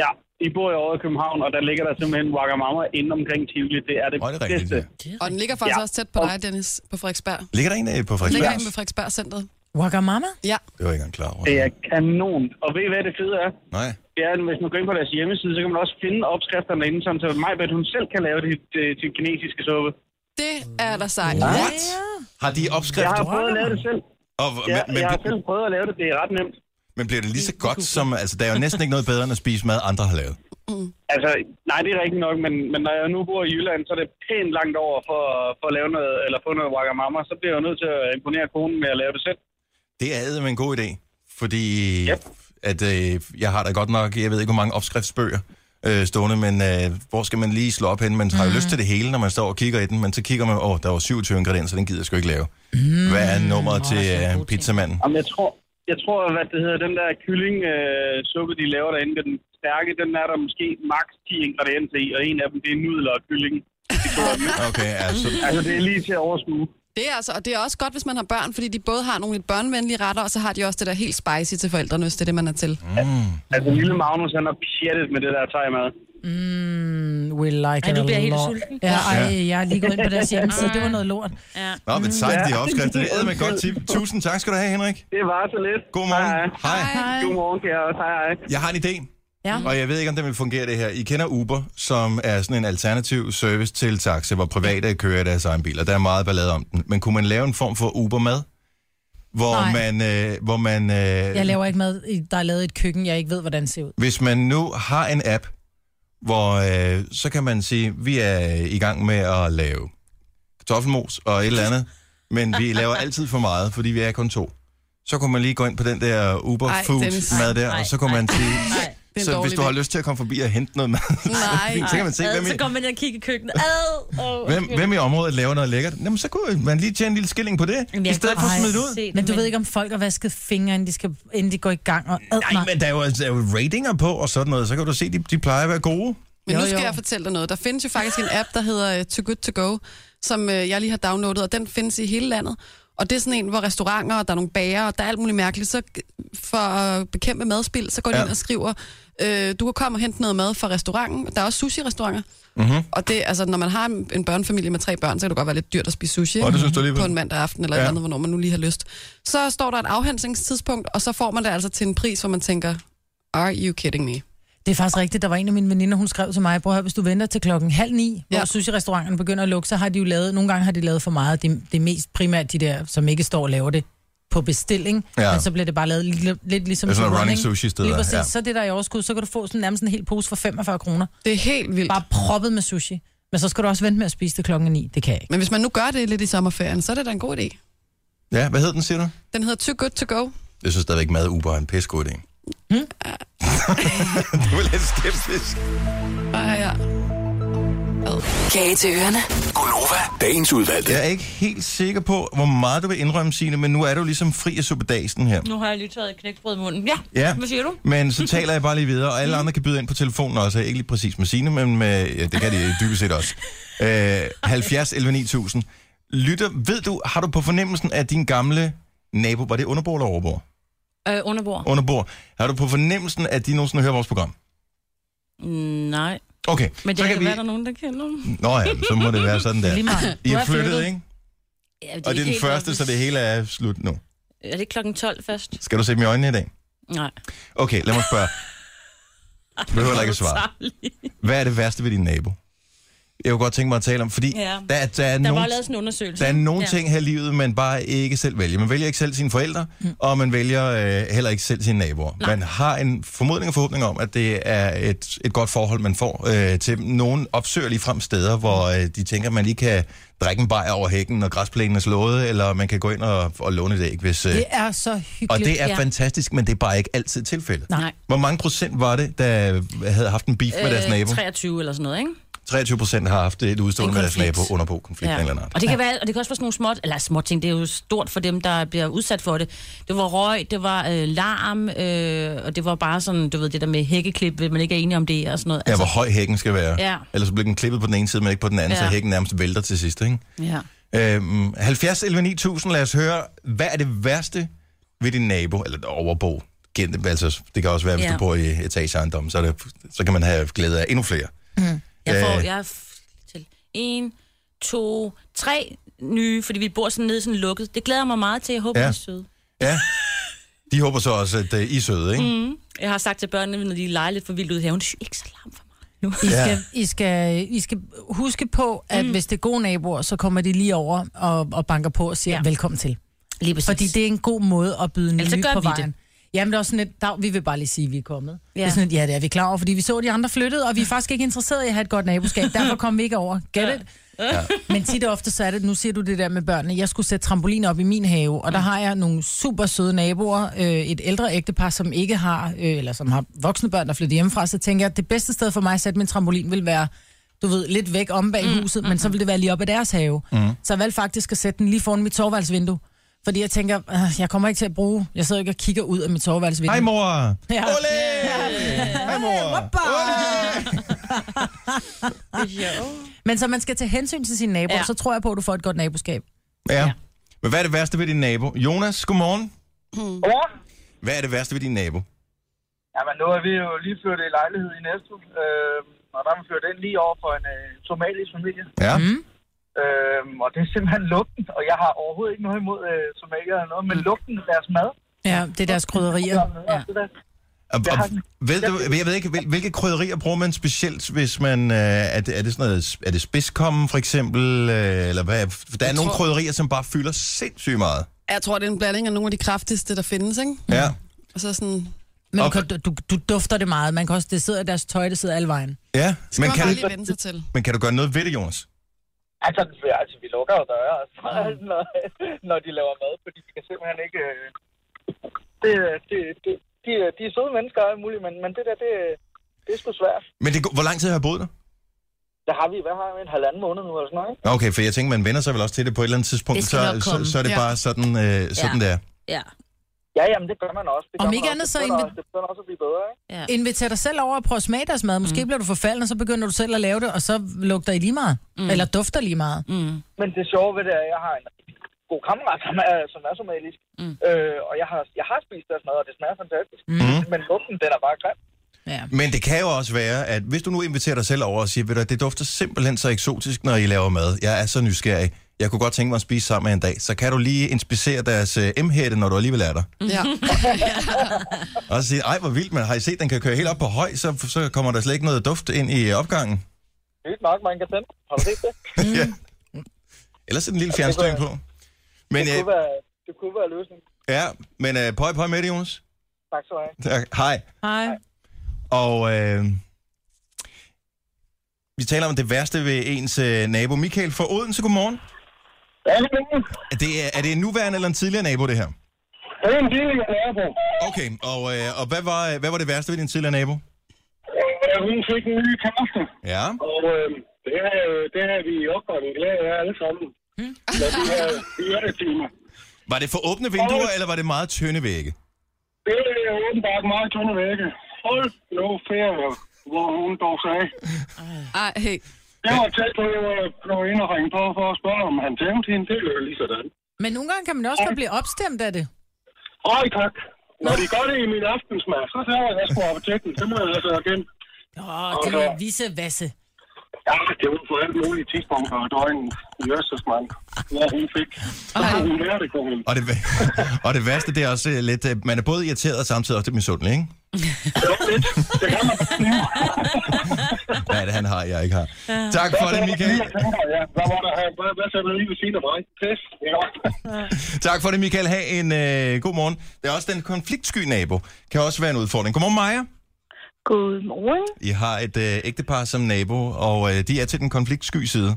S8: Ja, I bor jo over i København, og der ligger der simpelthen wagamama inde omkring Tivoli. Det er det,
S1: Åh, det er rigtigt.
S8: bedste.
S1: ja.
S3: Og den ligger faktisk ja.
S8: Ja.
S3: også tæt på dig, Dennis, på Frederiksberg.
S1: Ligger der en af på
S3: Den ligger
S1: Frederiksberg?
S3: inde ved Frederiksberg Centret.
S5: Wagamama?
S3: Ja,
S1: Det var jeg ikke engang klar over.
S8: Det er kanon. Og ved I, hvad det fede er?
S1: Nej.
S8: Det er, at hvis man går ind på deres hjemmeside, så kan man også finde opskrifterne inde, sådan så Majbert, hun selv kan lave dit, øh, din kinesiske suppe.
S3: det er der sejt.
S1: What? Har de
S8: Jeg
S1: opskrift?
S8: har prøvet at lave det selv.
S1: Og,
S8: Ja,
S1: men, men,
S8: jeg har selv prøvet at lave det. Det er ret nemt.
S1: men bliver det lige så godt som... Altså, der er jo næsten ikke noget bedre, end at spise mad, andre har lavet.
S8: Altså, nej, det er rigtigt nok, men, men når jeg nu bor i Jylland, så er det pænt langt over for, for at lave noget, eller få noget wagamama. Så bliver jeg jo nødt til at imponere konen med at lave det selv.
S1: Det er ædme en god idé, fordi
S8: Ja.
S1: at, øh, jeg har da godt nok, jeg ved ikke, hvor mange opskriftsbøger øh, stående, men øh, hvor skal man lige slå op hen? Man har
S4: Mm.
S1: jo lyst til det hele, når man står og kigger i den, men så kigger man, åh, der var 27 ingredienser, den gider jeg sgu ikke lave. Mm. Hvad er nummeret til
S4: sådan nogle
S1: øh,
S4: gode ting.
S1: pizzamanden?
S8: Jamen, jeg tror, jeg tror, hvad det hedder, den der kyllingsuppe, de laver derinde, den stærke, den er der måske maks 10 ingredienser i, og en af dem, det er nudler og kylling. De to af dem.
S1: Okay, altså,
S8: Altså, det er lige til at overskue.
S3: Det er altså, og det er også godt, hvis man har børn, fordi de både har nogle lidt børnevenlige retter, og så har de også det der helt spicy til forældrene, hvis det er det, man er til.
S8: Altså, lille Magnus, han er pjattet med det der tegmad.
S5: Mm, we like
S4: Ej,
S5: it
S4: nu
S5: a
S4: bliver jeg helt
S5: lot.
S4: sulten.
S5: Ja, ej, jeg er lige gået ind på deres hjemmeside. Det var noget lort.
S4: Ja.
S1: nå, men sejt, de opskrifter. Det er ædme et godt tip. Tusind tak skal du have, Henrik.
S8: Det var så lidt.
S1: Godmorgen. Hej.
S8: Hej. Godmorgen, kære. også. Hej, hej.
S1: Jeg har en idé.
S5: Ja.
S1: Og jeg ved ikke, om det vil fungere det her. I kender Uber, som er sådan en alternativ service til taxa, hvor private kører i deres egen biler. Der er meget ballade om den. Men kunne man lave en form for Uber med? Hvor
S5: Nej.
S1: man, øh, hvor man øh,
S5: Jeg laver ikke mad, i- der er lavet i et køkken, jeg ikke ved, hvordan det ser ud.
S1: hvis man nu har en app, hvor øh, så kan man sige, vi er i gang med at lave kartoffelmos og et eller andet, men vi laver altid for meget, fordi vi er kun to. Så kunne man lige gå ind på den der Uber
S3: Ej, Dennis.
S1: Food mad der,
S4: Ej,
S1: og så kunne man sige,
S3: Det er en
S1: så hvis
S3: dårlig
S1: du har
S3: idé.
S1: lyst til at komme forbi og hente noget mad,
S3: Nej.
S1: så kan man se, hvem
S4: Ad,
S1: i,
S4: så går man ind og kigger i køkkenet. Ad, oh,
S1: hvem, hvem i området laver noget lækkert. Jamen, så kunne man lige tjene en lille skilling på det, i stedet for at smide det ud.
S5: Men du ved ikke, om folk har vasket fingre, inden de, skal, inden de går i gang og ad
S1: Nej, men der er, jo, altså, der er jo ratinger på og sådan noget, så kan du se, de, de plejer at være gode.
S3: Men nu
S5: Jo,
S3: skal
S5: jo.
S3: jeg fortælle dig noget. Der findes jo faktisk en app, der hedder øh, Too Good To Go, som øh, jeg lige har downloadet, og den findes i hele landet. Og det er sådan en, hvor restauranter, og der er nogle bager, og der er alt muligt mærkeligt. Så g- for at bekæmpe madspild, så går de
S1: Ja.
S3: ja. ind og skriver, øh, du kan komme og hente noget mad fra restauranten. Der er også sushi-restauranter.
S1: Mhm.
S3: Mm-hmm. Og det, altså, når man har en, en børnefamilie med tre børn, så kan det godt være lidt dyrt at spise sushi.
S1: Og det synes du alligevel.
S3: på en mandag aften, eller ja.
S1: Ja.
S3: et andet, hvornår man nu lige har lyst. Så står der et afhentningstidspunkt, og så får man det altså til en pris, hvor man tænker, are you kidding me?
S5: Det er faktisk rigtigt. Der var en af mine veninder, hun skrev til mig, prøv at høre, hvis du venter til klokken halv ni, ja.
S3: Ja.
S5: hvor sushi-restauranterne begynder at lukke, så har de jo lavet, nogle gange har de lavet for meget. Det, det er mest primært de der, som ikke står og laver det på bestilling,
S1: Ja.
S5: ja. men så bliver det bare lavet lidt, lidt ligesom...
S1: Det er sådan
S5: til
S1: nogle running sushi-steder,
S5: Lige præcis,
S1: ja.
S5: ja. så det der i overskud, så kan du få sådan, nærmest en hel pose for 45 kroner.
S3: Det er helt vildt.
S5: Bare proppet med sushi. Men så skal du også vente med at spise det klokken 9. Det kan jeg ikke.
S3: Men hvis man nu gør det lidt i sommerferien, så er det da en god idé.
S1: Ja, hvad hed den, siger du?
S3: Den hedder Too Good To Go.
S1: Jeg synes stadigvæk, mad Uber er en pissegod idé. Hmm? du er lidt skeptisk.
S3: Ah, ja.
S7: Kage til ørerne.
S9: Gonova, dagens udvalgte.
S1: Jeg er ikke helt sikker på, hvor meget du vil indrømme, Signe, men nu er du ligesom fri af suppedasen her.
S4: Nu har jeg lige taget et knækbrød i munden. Ja,
S1: Ja,
S4: hvad siger du?
S1: men så taler jeg bare lige videre, og alle andre kan byde ind på telefonen også. Ikke lige præcis med Signe, men med, ja, det kan de dybest set også. Øh, 70 11 9000. Lytter, ved du, har du på fornemmelsen af din gamle nabo, var det underbord eller overbord?
S4: Øh, underbord.
S1: Underbord. Har du på fornemmelsen, at de nogensinde hører vores program?
S4: Mm, nej,
S1: Okay,
S4: men det
S1: så
S4: kan
S1: kan vi...
S4: være, der er nogen, der kender dem.
S1: Nå ja, men så må det være sådan der.
S5: Lige meget.
S1: I
S5: Du
S1: er
S5: er
S1: flyttet,
S5: flyttet.
S1: ikke?
S4: Ja,
S1: Og det er den første, så det hele er slut nu.
S4: Er det ikke klokken 12 først?
S1: Skal du se dem i øjnene i dag?
S4: Nej.
S1: Okay, lad mig spørge. Du behøver heller ikke at svare. Hvad er det værste ved din nabo? jeg kunne godt tænke mig at tale om, fordi ja.
S4: Ja.
S1: der, er- der, er
S4: Der
S1: nogle,
S4: var lavet sådan en undersøgelse.
S1: der er
S4: ikke?
S1: nogle ting her i livet, man bare ikke selv vælger. Man vælger ikke selv sine forældre, mm. og man vælger øh, heller ikke selv sine naboer. Nej. Man har en formodning og forhåbning om, at det er et, et godt forhold, man får øh, til nogle opsøgerlige frem steder, hvor øh, de tænker, man lige kan drikke en bajer over hækken, når græsplænen er slået, eller man kan gå ind og, og låne et æg, hvis... Øh,
S5: Det er så hyggeligt.
S1: og det er
S4: ja.
S1: fantastisk, men det er bare ikke altid tilfældet.
S4: Nej.
S1: Hvor mange procent var det, der havde haft en beef øh, med deres nabo?
S4: Øh, 23 eller sådan noget, ikke?
S1: 23 procent har haft et udstående
S4: En
S1: med deres
S4: konflikt.
S1: nabo under på konflikten ja. eller noget.
S4: Og det, kan være, og det kan også være sådan nogle små, eller små ting, det er jo stort for dem, der bliver udsat for det. Det var røg, det var øh, larm, øh, og det var bare sådan, du ved, det der med hækkeklip, hvis man ikke er enige om det og sådan noget.
S1: Ja, hvor høj hækken skal være.
S4: Altså- Ja.
S1: Ellers så bliver den klippet på den ene side, men ikke på den anden, ja. så
S4: Ja.
S1: hækken nærmest vælter til sidst. Ikke?
S3: Ja.
S1: Øhm, 70 11 9000, lad os høre, hvad er det værste ved din nabo, eller overbo? Gen- Altså, det kan også være, hvis ja.
S4: Ja.
S1: du bor i etageejendom, så, er det, så kan man have glæde af endnu flere.
S4: Mm. Jeg får,
S1: Øh.
S4: jeg f- til en, to, tre nye, fordi vi bor sådan nede sådan lukket. Det glæder jeg mig meget til. Jeg håber,
S1: Ja.
S4: ja. er søde.
S1: Ja. De håber så også, at øh, I er søde, ikke? Mm.
S4: Mhm. Jeg har sagt til børnene, når de leger lidt for vildt ud i haven, "Shh, ikke så larm for mig.
S5: I
S1: Ja.
S5: skal, I, skal, I skal huske på, at mm. hvis det er gode naboer, så kommer de lige over og, og banker på og siger ja.
S4: Ja.
S5: velkommen til.
S4: Lige præcis.
S5: Fordi det er en god måde at byde nye
S4: Ellers så gør
S5: på
S4: vi det.
S5: vejen. Jamen, det er også sådan lidt, dag, vi vil bare lige sige, at vi er kommet. Ja.
S4: Ja.
S5: Det er sådan lidt, ja, det er vi klar over, fordi vi så de andre flyttede, og vi er faktisk ikke interesserede i at have et godt naboskab. Derfor kom vi ikke over. Get it? Ja. Men tit og ofte så er det, nu siger du det der med børnene, jeg skulle sætte trampolin op i min have, og der har jeg nogle super søde naboer, øh, et ældre ægtepar, som ikke har, øh, eller som har voksne børn, der flytter hjemmefra, så tænker jeg, at det bedste sted for mig at sætte min trampolin vil være du ved, lidt væk om bag huset, men så vil det være lige op ad deres have. Mm.
S1: Mhm.
S5: Så jeg valgte faktisk at sætte den lige foran mit soveværelsesvindue. Fordi jeg tænker, "Ah, jeg kommer ikke til at bruge... Jeg sidder ikke og kigger ud af mit soveværelsesvindue.
S1: Hej, mor!
S5: Ja.
S1: Ole! Hej, mor! Ole!
S5: Men så man skal tage hensyn til sine naboer, ja.
S4: Ja.
S5: så tror jeg på, at du får et godt naboskab.
S1: Ja. Men hvad er det værste ved din nabo? Jonas, godmorgen.
S10: Godmorgen.
S1: Hvad er det værste ved din nabo?
S10: Jamen, nu er vi jo lige flyttet i lejlighed i næste øh, og der er vi flyttet ind lige over for en øh, somalisk familie.
S1: Ja. Mm.
S10: Øh, og det er simpelthen lugten, og jeg har overhovedet ikke noget imod øh, somalier eller noget, men lugten af deres mad.
S5: Ja, det er deres krydderier. Ja.
S10: Det der.
S1: Og, og,
S10: Jeg-
S1: ved du, jeg ved ikke, hvil- hvilke krydderier bruger man specielt, hvis man... Øh, er, det, er det sådan noget... Er det spidskommen, for eksempel? Øh, eller hvad? For Der er nogle
S3: tror-
S1: krydderier, som bare fylder sindssygt meget.
S3: Jeg tror, det er en blanding af nogle af de kraftigste, der findes, ikke?
S1: Ja.
S3: Og så sådan...
S5: Men
S1: Og-
S5: du, kan- du, du dufter det meget. Man kan også, det sidder i deres tøj, det sidder alle vejen.
S1: Ja.
S3: Skal
S1: Men
S3: man bare
S1: kan,
S3: lige vende sig til.
S1: men kan du gøre noget ved det, Jonas?
S10: Altså, vi- altså, vi lukker jo døre, altså, når, når de laver mad, fordi de kan simpelthen ikke... øh, Det, det, det, de, er- de er søde mennesker og alt muligt, men, men det der, det, det er sgu svært.
S1: Men det, går- hvor lang tid har jeg boet der?
S10: Der har vi, hvad har vi, en halvanden måned nu eller sådan noget, ikke?
S1: Okay, for jeg tænker, man vender sig vel også til det på et eller andet tidspunkt,
S4: Det
S1: så,
S4: skal nok
S1: så,
S4: komme.
S1: så er det
S3: Ja.
S1: bare sådan, øh, sådan ja. der.
S4: Ja,
S10: Ja, jamen, det gør man også. Det
S5: Om
S10: gør man
S5: ikke
S10: også.
S5: andet,
S10: Det
S5: så
S10: begynder
S5: invit-
S10: også- Det begynder også at blive bedre, ikke?
S4: ja.
S5: Inviter dig selv over og prøve at smage deres mad. Måske mm. bliver du forfalden, og så begynder du selv at lave det, og så lugter I lige meget. Mm. Eller dufter lige meget. Mm.
S10: Men det sjove ved det er, at jeg har en god kammerat, som er, som er somalisk. Mm. Øh, og jeg har, jeg har spist deres mad, og det smager fantastisk. Mm. Men lugten, den er bare grim.
S5: Ja.
S1: Men det kan jo også være, at hvis du nu inviterer dig selv over og siger, ved du, det dufter simpelthen så eksotisk, når I laver mad. Jeg er så nysgerrig. Jeg kunne godt tænke mig at spise sammen med en dag. Så kan du lige inspicere deres øh, M-hætte, når du alligevel er der.
S3: Ja.
S1: Og så sige, ej, hvor vildt, men har I set, den kan køre helt op på høj, så, så kommer der slet ikke noget duft ind i øh, opgangen.
S10: Sygt nok, man kan tænde. Har du set det?
S1: Mm. ja. Ellers er den lille
S10: det
S1: fjernstyring
S10: kunne
S1: på. Men,
S10: Det
S1: øh,
S10: kunne være, det kunne være løsningen.
S1: ja, men øh, pøj, pøj med det, Jonas.
S10: Tak skal du have.
S1: Tak. Hej.
S5: Hej.
S1: Og øh, vi taler om det værste ved ens øh, nabo. Michael fra Odense, godmorgen.
S10: Ja, det er det.
S1: Er det, er det en nuværende eller en tidligere nabo, det her?
S10: Det er en bil, jeg er på.
S1: Okay, og, øh, og hvad, var, øh, hvad var det værste ved din tidligere nabo?
S10: Øh, Hun fik en ny kæreste,
S1: Ja,
S10: og øh, det, er, øh, det er vi i opgangen glade af alle sammen. Når vi er i timer.
S1: var det for åbne vinduer, eller var det meget tynde vægge?
S10: Det er åbenbart meget tunde vægge. Hold nu ferie, hvor hun dog sagde.
S3: Ej, hey.
S10: Jeg var tæt på, at jeg blev ind og ringe på for at spørge, om han tænkte hende. Det løb lige sådan.
S5: Men nogle gange kan man også godt blive opstemt af det.
S10: Ej, tak. Når de gør det i min aftensmad, så tager jeg, at jeg skulle op til den. Det må jeg altså igen.
S5: Åh, det
S10: Okay.
S5: er visse vasse.
S10: Ja, det var på alle mulige tidspunkter og døgn i Østersmand, hvor hun fik. Så kunne hun lære det, kunne hun.
S1: Og det, og det værste, det er også øh, lidt, øh, man er både irriteret og samtidig også lidt misundelig, ikke?
S8: Jo, lidt. Det kan man godt blive.
S1: Hvad er det, han har, jeg ikke har? Tak for det, Michael.
S8: Ja, hvad var der her? Hvad, hvad sagde du lige ved siden af mig? Pis, ikke også?
S1: Tak for det, Michael. Ha' en øh, god morgen. Der er også den konfliktsky nabo. Kan også være en udfordring. Godmorgen, Maja.
S11: Godmorgen.
S1: I har et øh, ægtepar som nabo, og øh, de er til den konfliktsky side.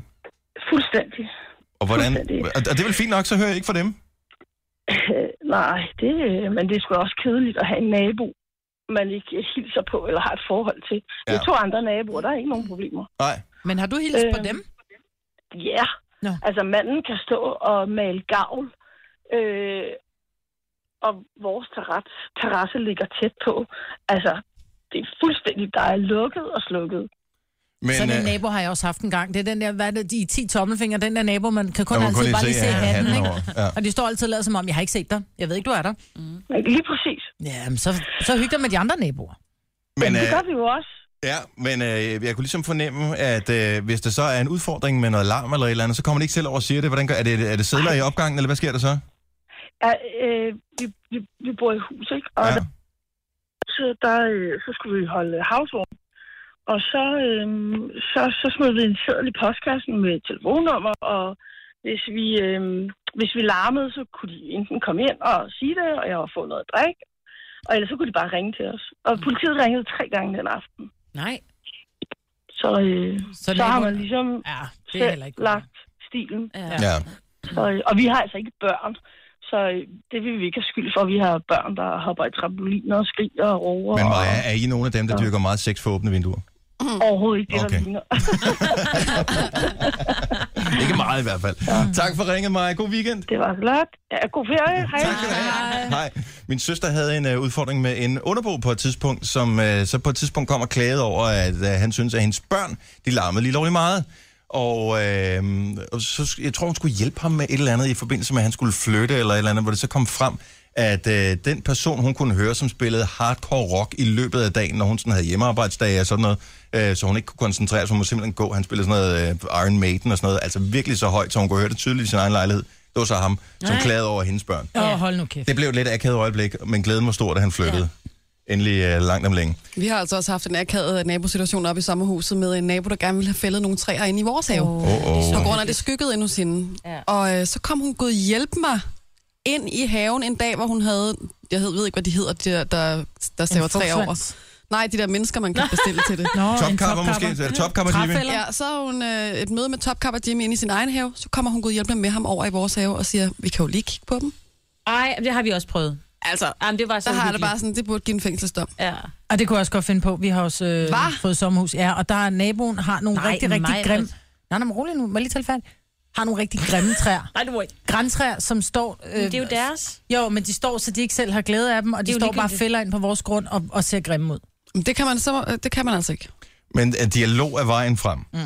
S11: Fuldstændig.
S1: Og, hvordan,
S11: Fuldstændig.
S1: og, og det er vel fint nok, så hører jeg ikke fra dem.
S11: Øh, nej, det, øh, men det er sgu også kedeligt at have en nabo, man ikke øh, hilser på eller har et forhold til. Ja. Det er
S1: Ja.
S11: to andre naboer, der er ikke nogen problemer.
S1: Nej.
S5: Men har du hilst på
S11: Øh,
S5: dem?
S11: Ja,
S5: Nå.
S11: yeah. altså manden kan stå og male gavl, øh, og vores terrasse, terrasse ligger tæt på. Altså, det er fuldstændig, der er lukket og slukket.
S1: Men,
S5: Sådan en
S1: øh,
S5: nabo har jeg også haft en gang. Det er den der, hvad er det, de 10 tommelfinger, den der nabo, man kan kun
S1: man må
S5: altid
S1: kun lige
S5: bare
S1: se,
S5: lige se
S1: ja,
S5: hatten,
S1: hatten
S5: ikke?
S1: over. Ja.
S5: Og de står altid lavet som om, jeg har ikke set dig. Jeg ved ikke, du er der.
S11: Men Lige præcis.
S5: Ja, men så, så hyg dig med de andre naboer.
S1: men,
S11: Men, det
S1: øh,
S11: gør vi jo også.
S1: ja, men øh, jeg kunne ligesom fornemme, at øh, hvis der så er en udfordring med noget larm eller et eller andet, så kommer de ikke selv over og siger det. Hvordan gør, er, det er det sædler i opgangen, eller hvad sker der så?
S11: Ja, øh, vi, vi, vi bor i hus, ikke? Og
S1: Ja.
S11: ja. så, der, øh, så skulle vi holde havsvogn. Og så, øh, så, så smed vi en seddel i postkassen med et telefonnummer, og hvis vi, øh, hvis vi larmede, så kunne de enten komme ind og sige det, og jeg var få noget drik, og ellers så kunne de bare ringe til os. Og politiet ringede tre gange den aften.
S5: Nej.
S11: Så, øh,
S5: Så,
S11: så har
S5: naboen-
S11: man ligesom
S5: Ja, det er
S11: selv
S5: heller ikke godt.
S11: lagt stilen.
S4: Ja.
S1: ja.
S11: Så, øh, og vi har altså ikke børn, så øh, det vil vi ikke have skyld for. Vi har børn, der hopper i trampoliner og skriger og roer.
S1: Men Maja, er I nogle af dem, der dyrker meget sex for åbne vinduer?
S11: og overhovedet ikke det,
S1: Okay.
S11: okay. der ligner.
S1: Ikke meget i hvert fald. Ja. Tak for ringet, Maja. God weekend.
S11: Det var flot. Ja, god ferie. Hej.
S1: Tak skal du have. Hej. Min søster havde en uh, udfordring med en underbo på et tidspunkt, som uh, så på et tidspunkt kom og klagede over, at uh, han synes at hendes børn, de larmede lige lovlig meget. Og, øh, og så, sk- jeg tror, hun skulle hjælpe ham med et eller andet i forbindelse med, at han skulle flytte eller et eller andet, hvor det så kom frem, at øh, den person, hun kunne høre, som spillede hardcore rock i løbet af dagen, når hun sådan havde hjemmearbejdsdage og sådan noget, øh, så hun ikke kunne koncentrere sig, hun måtte simpelthen gå. Han spillede sådan noget øh, Iron Maiden og sådan noget, altså virkelig så højt, så hun kunne høre det tydeligt i sin egen lejlighed. Det var så ham, som
S4: Nej.
S1: klagede over hendes børn.
S5: Åh, oh, hold nu kæft.
S1: Det blev et lidt akavet øjeblik, men glæden var stor, da han flyttede. Ja. Endelig uh, langt om længe.
S3: Vi har altså også haft en akavet nabosituation oppe i sommerhuset med en nabo, der gerne ville have fældet nogle træer ind i vores have. Oh.
S1: Åh, oh,
S3: På
S1: oh.
S3: grund af det skyggede endnu sinde.
S4: Ja.
S3: Ja. Og øh, så kom hun gået hjælpe mig ind i haven en dag, hvor hun havde, jeg hed- ved ikke, hvad de hedder, de der, der, der saver træer over. Nej, de der mennesker, man kan bestille til det.
S5: Nå, en
S1: Topkapper måske? Er det topkapper, Jimmy?
S5: Træfælder.
S3: Ja, så har hun øh, et møde med Topkapper Jimmy inde i sin egen have. Så kommer hun gået hjælpe med ham over i vores have og siger, vi kan jo lige kigge på dem.
S4: Ej, det har vi også prøvet.
S3: Altså,
S4: Jamen, det var så
S3: der har jeg det
S4: uhyggeligt.
S3: bare sådan, det burde give en fængselsdom.
S4: Ja.
S5: Og det kunne jeg også godt finde på. Vi har også øh,
S3: Hva?
S5: fået sommerhus. Ja, og der er naboen har nogle
S4: Nej,
S5: Nej, rigtig, rigtig
S4: mig,
S5: grimme...
S4: Britt.
S5: Nej, nej, men rolig nu. Må jeg lige tale færdigt? Har nogle rigtig grimme træer.
S4: Nej, du må ikke.
S5: Græntræer, som står... Øh,
S4: Det er jo deres.
S5: Jo, men de står, så de ikke selv har glæde af dem, og
S4: Det er
S5: de
S4: jo
S5: står bare og
S4: ligegyldigt.
S5: fælder ind på vores grund og, og ser grimme ud.
S3: Men Det kan man, så, øh, det kan man altså ikke.
S1: Men uh, dialog er vejen frem. Mm.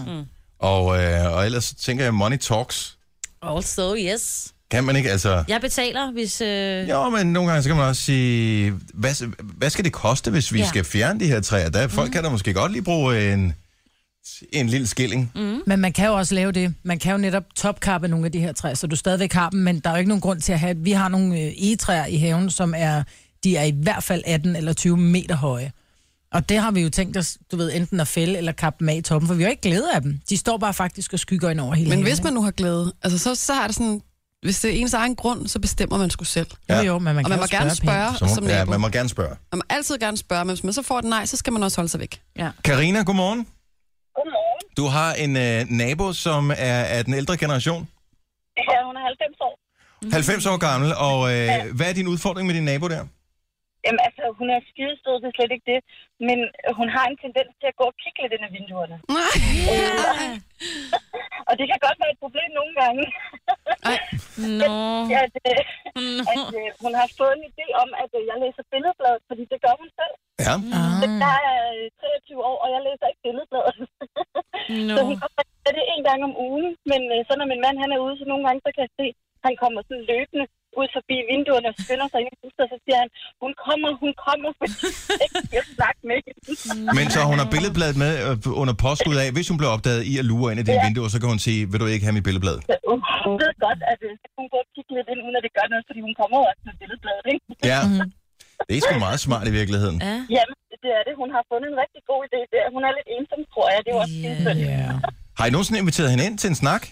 S1: Og, uh, og ellers så tænker jeg, money talks.
S4: Also, yes.
S1: Kan man ikke, altså...
S4: Jeg betaler, hvis... Øh...
S1: Jo, men nogle gange så kan man også sige, hvad, hvad skal det koste, hvis vi ja.
S4: Ja.
S1: skal fjerne de her træer? Der, folk mm. kan da måske godt lige bruge en, en lille skilling. Mm.
S5: Men man kan jo også lave det. Man kan jo netop topkappe nogle af de her træer, så du stadigvæk har dem, men der er jo ikke nogen grund til at have... Vi har nogle øh, egetræer i haven, som er... De er i hvert fald 18 eller 20 meter høje. Og det har vi jo tænkt os, du ved, enten at fælde eller kappe dem af i toppen, for vi har jo ikke glæde af dem. De står bare faktisk og skygger ind over hele
S3: Men
S5: haven,
S3: hvis man nu har glæde, altså, så, så har det sådan, hvis det er ens egen grund, så bestemmer man sgu selv.
S5: ikke?
S1: Ja.
S5: Jo, jo, men man
S3: Og
S5: kan
S3: man
S5: jo
S3: må gerne spørge som, som
S1: ja,
S3: nabo.
S1: man må gerne spørge.
S3: Man må altid gerne spørge, men hvis man så får et nej, så skal man også holde sig væk.
S1: Karina, godmorgen.
S11: Godmorgen.
S1: Du har en uh, nabo, som er af den ældre generation.
S11: Ja, hun er 90 år.
S1: 90 år gammel, og øh, hvad er din udfordring med din nabo der?
S11: Jamen, altså, hun er skidestød, det er slet ikke det. Men øh, hun har en tendens til at gå og kigge lidt ind ad vinduerne.
S3: Nej.
S4: Ja.
S11: Og det kan godt være et problem nogle gange.
S4: Nå.
S11: at, øh, at øh, hun har fået en idé om, at øh, jeg læser billedbladet, fordi det gør hun selv.
S1: Ja.
S5: Ah.
S11: Mm. Jeg er øh, 23 år, og jeg læser ikke billedbladet.
S4: Nå.
S11: Så hun kommer med det en gang om ugen, men øh, så når min mand han er ude, så nogle gange så kan jeg se, han kommer sådan løbende ud forbi vinduerne og skynder sig ind i huset, og så siger han, hun kommer, hun kommer, fordi jeg skal snakke med hende.
S1: Men så hun har billedbladet med øh, under påskud af, hvis hun bliver opdaget i at lure ind i dine ja. vinduer, så kan hun sige, vil du ikke have mit billedblad?
S11: Så, øh, Hun ved godt, at øh, så kan hun går og kigge lidt ind, uden at det gør noget, fordi hun kommer over til billedbladet, ikke?
S1: Ja. Det er sgu meget smart i virkeligheden.
S4: Ja.
S12: Jamen, det er det. Hun har fundet en rigtig god idé der. Hun er lidt ensom, tror jeg. Det var også yeah.
S1: Yeah. Har I nogensinde inviteret hende ind til en snak?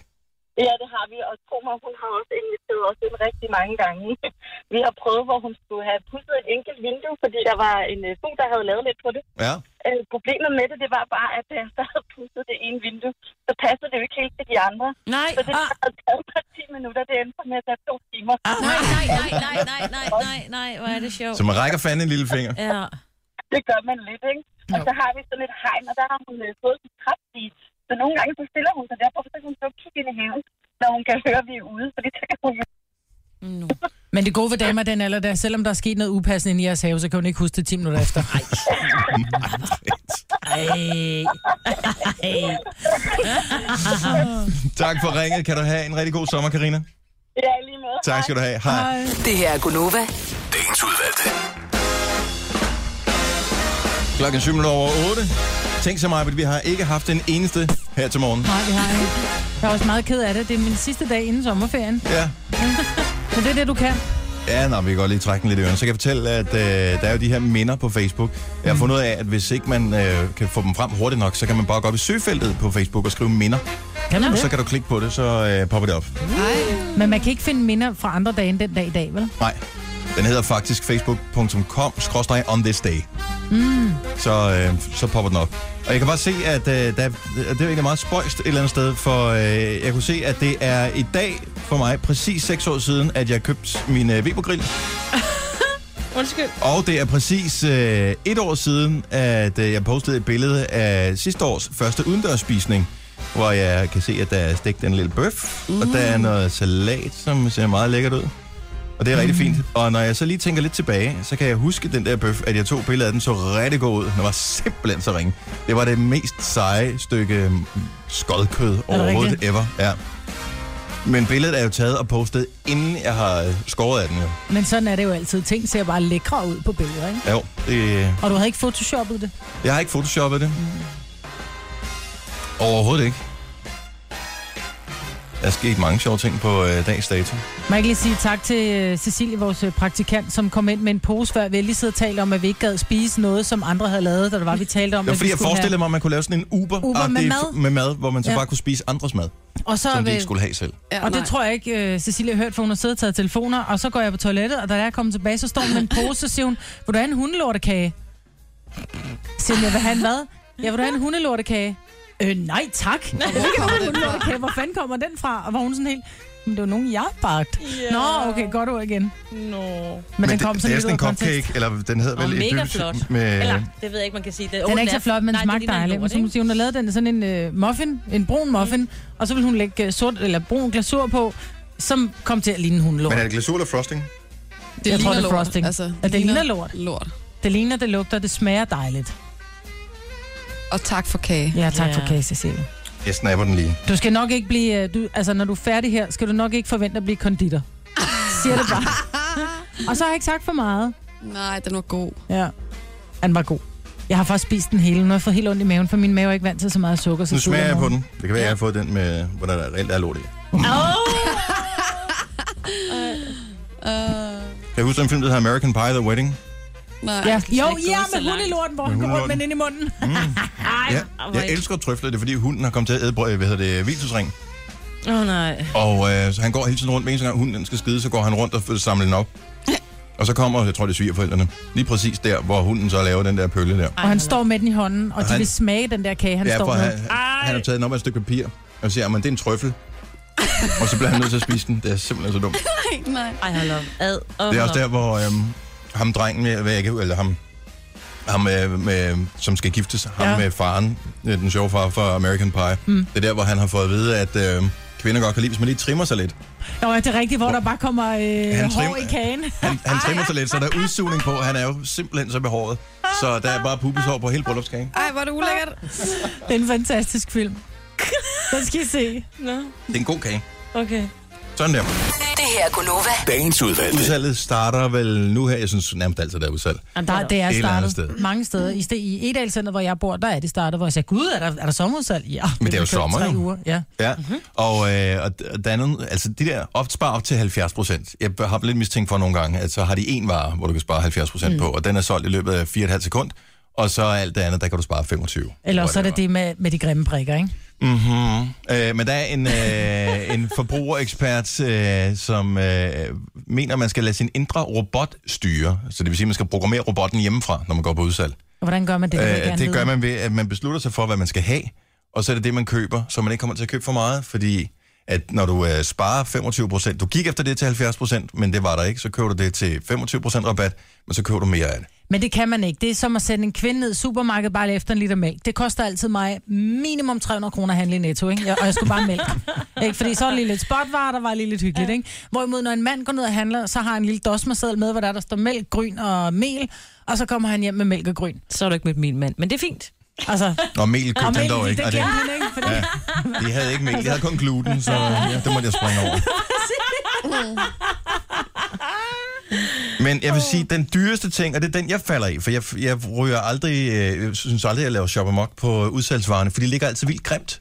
S12: Ja, det har vi. Og tro mig, hun har også inviteret os ind rigtig mange gange. Vi har prøvet, hvor hun skulle have pudset et enkelt vindue, fordi der var en øh, fugl, der havde lavet lidt på det.
S1: Ja.
S12: Øh, problemet med det, det var bare, at da jeg så havde pudset det ene vindue, så passede det jo ikke helt til de andre.
S4: Nej.
S12: Så det havde taget mig 10 minutter, det endte med at tage to timer.
S4: Ah, nej, nej, nej, nej, nej, nej, nej, nej, hvor er det sjovt.
S1: Så man rækker fanden en lille finger.
S4: Ja.
S12: Det gør man lidt, ikke? Og så har vi sådan et hegn, og der har hun øh, fået sin kraftige. Så nogle gange så stiller hun sig derfor, så kan hun så kigge ind i haven, når hun kan høre, at vi er ude, fordi så kan hun jo
S5: Men det gode ved damer, den alder der, selvom der er sket noget upassende inde i jeres have, så kan hun ikke huske det 10 minutter efter. Ej.
S4: Ej. Ej.
S1: Tak for ringet. Kan du have en rigtig god sommer, Karina?
S12: Ja, lige måde.
S1: Tak skal du have. Hej.
S7: Det her er Gunova.
S9: Dagens udvalgte.
S1: Klokken er syv minutter over 8. Tænk så meget, at vi har ikke haft den eneste her til morgen.
S5: Nej, vi har ikke. Jeg er også meget ked af det. Det er min sidste dag inden sommerferien.
S1: Ja.
S5: Men det er det, du kan.
S1: Ja, nå, vi kan godt lige trække den lidt i ørene. Så kan jeg fortælle, at øh, der er jo de her minder på Facebook. Jeg
S5: Mm.
S1: har fundet ud af, at hvis ikke man øh, kan få dem frem hurtigt nok, så kan man bare gå op i søgefeltet på Facebook og skrive minder.
S5: Kan man
S1: og
S5: det?
S1: så kan du klikke på det, så øh, popper det op.
S5: Men man kan ikke finde minder fra andre dage end den dag i dag, vel?
S1: Nej, den hedder faktisk facebook.com on this day.
S5: Mm.
S1: Så, øh, så popper den op. Og jeg kan bare se, at øh, der, at det er jo egentlig meget spøjst et eller andet sted, for øh, jeg kunne se, at det er i dag for mig præcis 6 år siden, at jeg købte min øh, Weber-grill.
S4: Undskyld.
S1: Og det er præcis øh, et år siden, at øh, jeg postede et billede af sidste års første udendørsspisning, hvor jeg kan se, at der er stegt en lille bøf, mm. og der er noget salat, som ser meget lækkert ud. Og det er rigtig fint. Og når jeg så lige tænker lidt tilbage, så kan jeg huske den der bøf, at jeg tog billeder af den så rigtig god ud. Den var simpelthen så ringe. Det var det mest seje stykke mm, skodkød overhovedet
S5: rigtigt?
S1: ever. Ja. Men billedet er jo taget og postet, inden jeg har øh, skåret af den. Jo,
S5: Men sådan er det jo altid. Ting ser bare lækre ud på billeder, ikke?
S1: jo det,
S5: Og du havde ikke photoshoppet det?
S1: Jeg har ikke photoshoppet det. Overhovedet ikke. Der er sket mange sjove ting på øh, dags dato.
S5: Må jeg ikke lige sige tak til øh, Cecilie, vores øh, praktikant, som kom ind med en pose før. Vi har lige siddet og talt om, at vi ikke gad spise noget, som andre havde lavet, da der var, vi talte om,
S1: Det var
S5: at vi
S1: fordi, jeg
S5: skulle
S1: forestillede
S5: have.
S1: mig, at man kunne lave sådan en Uber,
S5: Uber med
S1: agtig-
S5: mad.
S1: med mad, hvor man så
S5: Ja.
S1: bare kunne spise andres mad,
S5: Og så,
S1: som de
S5: øh,
S1: ikke skulle have selv.
S5: Ja, og det tror jeg ikke, uh, Cecilie har hørt, for hun har siddet og taget telefoner, og så går jeg på toilettet, og da jeg kommer tilbage, så står hun med en pose, så siger hun, vil du have en hundelortekage? Så Siger hun, jeg vil have en hvad? Jeg vil du have en hundelortekage? Øh, nej tak. Jeg vil ikke have en hundelortekage. Hvor fanden kommer den fra? Og var hun sådan helt, men det var nogen, jeg bagt. Yeah. Nå, okay, godt ord igen.
S4: Nå. No.
S5: Men den kom
S1: det,
S5: sådan
S1: det er
S5: lidt ud
S1: sådan en
S5: af kontekst.
S1: cupcake, eller den hedder
S4: Og
S1: vel
S4: mega
S1: dybt
S4: flot.
S1: Med,
S4: Eller, det ved jeg ikke, man kan sige. Det.
S5: Den er ikke så flot, men den smagte dejligt. Men så hun siger, hun har lavet den sådan en øh, muffin, en brun muffin,
S4: Mm.
S5: og så vil hun lægge øh, sort eller brun glasur på, som kom til at ligne hundelort.
S1: men er det glasur eller frosting?
S5: Det jeg tror, det er
S3: lort.
S5: frosting.
S3: Altså,
S5: Altså, ja, det ligner lort.
S3: Lort.
S5: Det ligner, det lugter, det smager dejligt.
S3: Og tak for kage.
S5: Ja, tak for
S1: Ja.
S5: kage, Cecilie.
S1: Jeg snapper den lige.
S5: Du skal nok ikke blive... øh, Du, altså, når du er færdig her, skal du nok ikke forvente at blive konditor. Siger det bare. Og så har jeg ikke sagt for meget.
S3: Nej, den var god.
S5: Ja. Han var god. Jeg har faktisk spist den hele. Nu har jeg fået helt ondt i maven, for min mave er ikke vant til så meget sukker. Så
S1: Nu smager jeg
S5: tidligere
S1: på
S5: om
S1: den. Det kan være, jeg har fået den med, hvor der reelt er lort i.
S3: Uh,
S1: Kan du huske den film, der hedder American Pie The Wedding?
S3: nej,
S5: Ja.
S3: jeg kan
S5: Jo,
S3: slet ikke
S5: ja,
S3: gå så
S5: med
S3: langt.
S5: hundelorten, hvor han
S1: Med
S5: går rundt med
S1: hundelorten.
S5: den inde i munden.
S4: Ej,
S1: Ja,
S4: hvor
S1: jeg
S4: ikke-
S1: elsker trøfler, det er fordi hunden har kommet til at æde, brød- hvad hedder det, vildsvinsring.
S4: Åh, oh, nej.
S1: Og øh, så han går hele tiden rundt, med en gang hunden den skal skide, så går han rundt og f- samler den op. Og så kommer, jeg tror det er svigerforældrene, lige præcis der, hvor hunden så laver den der pølle der.
S5: Og han står med den i hånden, og de
S1: han-
S5: vil smage den der kage, han
S1: ja,
S5: står
S1: for han,
S5: med.
S1: han han har taget den op af et stykke papir, og siger, at det er en trøffel. og så bliver han nødt til at spise den. Det er simpelthen så dumt.
S3: Nej, nej.
S4: Ej, hold op. Ad. Oh,
S1: Det er også der, hvor øhm, ham drengen, med- hvad jeg kan, eller ham, ham øh, med, som skal giftes, ham
S5: Ja.
S1: med faren, øh, den sjove far fra American Pie.
S5: Mm.
S1: Det er der, hvor han har fået at vide, at øh, kvinder godt kan lide, hvis man lige trimmer sig lidt.
S5: Nå, er det rigtigt, hvor der bare kommer øh,
S1: Han
S5: hår
S1: trimmer-
S5: i kagen?
S1: Han, han trimmer sig lidt, så der er udsugning på. Han er jo simpelthen så behåret. Så der er bare pubeshår på hele bryllupskagen.
S3: Ej, hvor er det ulækkert.
S5: Det er en fantastisk film. Den skal I se.
S4: Nå,
S1: Det er en god kage.
S4: okay.
S1: Sådan der.
S7: Det her er Gunova.
S9: Dagens udvalgte.
S1: Udsalget starter vel nu her. Jeg synes nærmest altid, der er udsalg.
S5: Jamen, der, det er
S1: Et eller andet
S5: startet
S1: sted.
S5: mange steder. I, sted, I Edal Center, hvor jeg bor, der er det startet, hvor jeg sagde, gud, er der, er der sommerudsalg? Ja,
S1: Men det er jo
S5: kørt
S1: sommer,
S5: tre
S1: jo.
S5: uger. Ja.
S1: Ja, mm-hmm. og, øh, og d- og der er nogle, altså de der opspar op til 70 procent. Jeg har blevet lidt mistænkt for nogle gange, at så har de en vare, hvor du kan spare 70 procent mm. på, og den er solgt i løbet af 4,5 sekund, og så alt det andet, der kan du spare 25.
S5: Eller også er det det med, med de grimme prikker, ikke?
S1: Mm-hmm. Øh, men der er en, øh, en forbrugerekspert, øh, som øh, mener, man skal lade sin indre robot styre. Så det vil sige, at man skal programmere robotten hjemmefra, når man går på udsalg.
S5: Og hvordan gør man det? vil jeg
S1: Øh,
S5: gerne
S1: det
S5: vide.
S1: gør man ved, at man beslutter sig for, hvad man skal have, og så er det det, man køber, så man ikke kommer til at købe for meget, fordi at når du øh, sparer 25 procent, du gik efter det til 70 procent, men det var der ikke, så køber du det til 25 procent rabat, men så køber du mere af det.
S5: Men det kan man ikke. Det er som at sende en kvinde ned i supermarkedet bare lige efter en liter mælk. Det koster altid mig minimum 300 kroner at handle i netto, ikke? Jeg, og jeg skulle bare have mælk. ikke? Fordi så er der lige lidt spotvarer, der var lige lidt hyggeligt, ikke? Hvorimod, når en mand går ned og handler, så har en lille dosmerseddel med, hvor der, er, der står mælk, gryn og mel, og så kommer han hjem med mælk og gryn.
S4: Så er du ikke med min mand, men det er fint.
S5: Altså,
S1: Og mel købte
S5: Og
S1: han
S5: mel,
S1: dog ikke.
S5: det
S1: og
S5: gjorde han ikke, fordi-
S1: ja, de havde ikke mel, de havde kun gluten, så ja, det måtte jeg springe over. Men jeg vil sige, den dyreste ting, og det er den, jeg falder i, for jeg, jeg ryger aldrig, øh, jeg synes aldrig, jeg laver shop amok på udsalgsvarerne, for de ligger altid vildt grimt.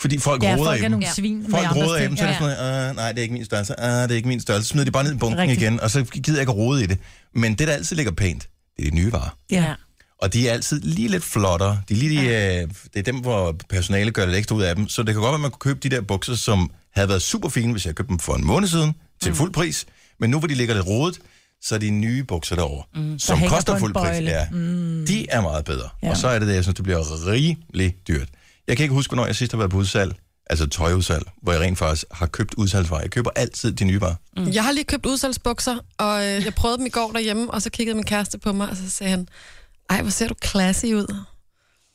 S1: Fordi folk
S5: Ja,
S1: roder
S5: folk
S1: i
S5: er
S1: dem.
S5: nogle svin med
S1: folk
S5: andres
S1: roder i
S5: ting.
S1: dem, så er det
S5: Ja,
S1: sådan noget, "Øh, nej, det er ikke min størrelse, ah, det er ikke min størrelse. Så smider de bare ned i bunken
S5: Rigtigt.
S1: igen, og så gider jeg ikke at rode i det. Men det, der altid ligger pænt, det er de nye varer.
S5: ja.
S1: Og de er altid lige lidt flottere. De er lige de, øh, det er dem, hvor personale gør lidt ekstra ud af dem. Så det kan godt være, at man kunne købe de der bukser, som havde været super fine, hvis jeg købte dem for en måned siden,
S5: Mm.
S1: til fuld pris. Men nu hvor de ligger lidt rodet, så er de nye bukser derovre, mm, som
S5: hænger på
S1: koster
S5: en
S1: fuld pris.
S5: bøjle.
S1: Ja, mm. De er meget bedre.
S5: Ja.
S1: Ja. Og så er det det, jeg synes, det bliver rigelig dyrt. Jeg kan ikke huske, hvornår jeg sidst har været på udsalg, altså tøjudsalg, hvor jeg rent faktisk har købt udsalgsvarer. Jeg køber altid de nye varer.
S3: Mm. Jeg har lige købt udsalgsbukser, og øh, jeg prøvede dem i går derhjemme, og så kiggede min kæreste på mig, og så sagde han, ej, hvor ser du classy ud.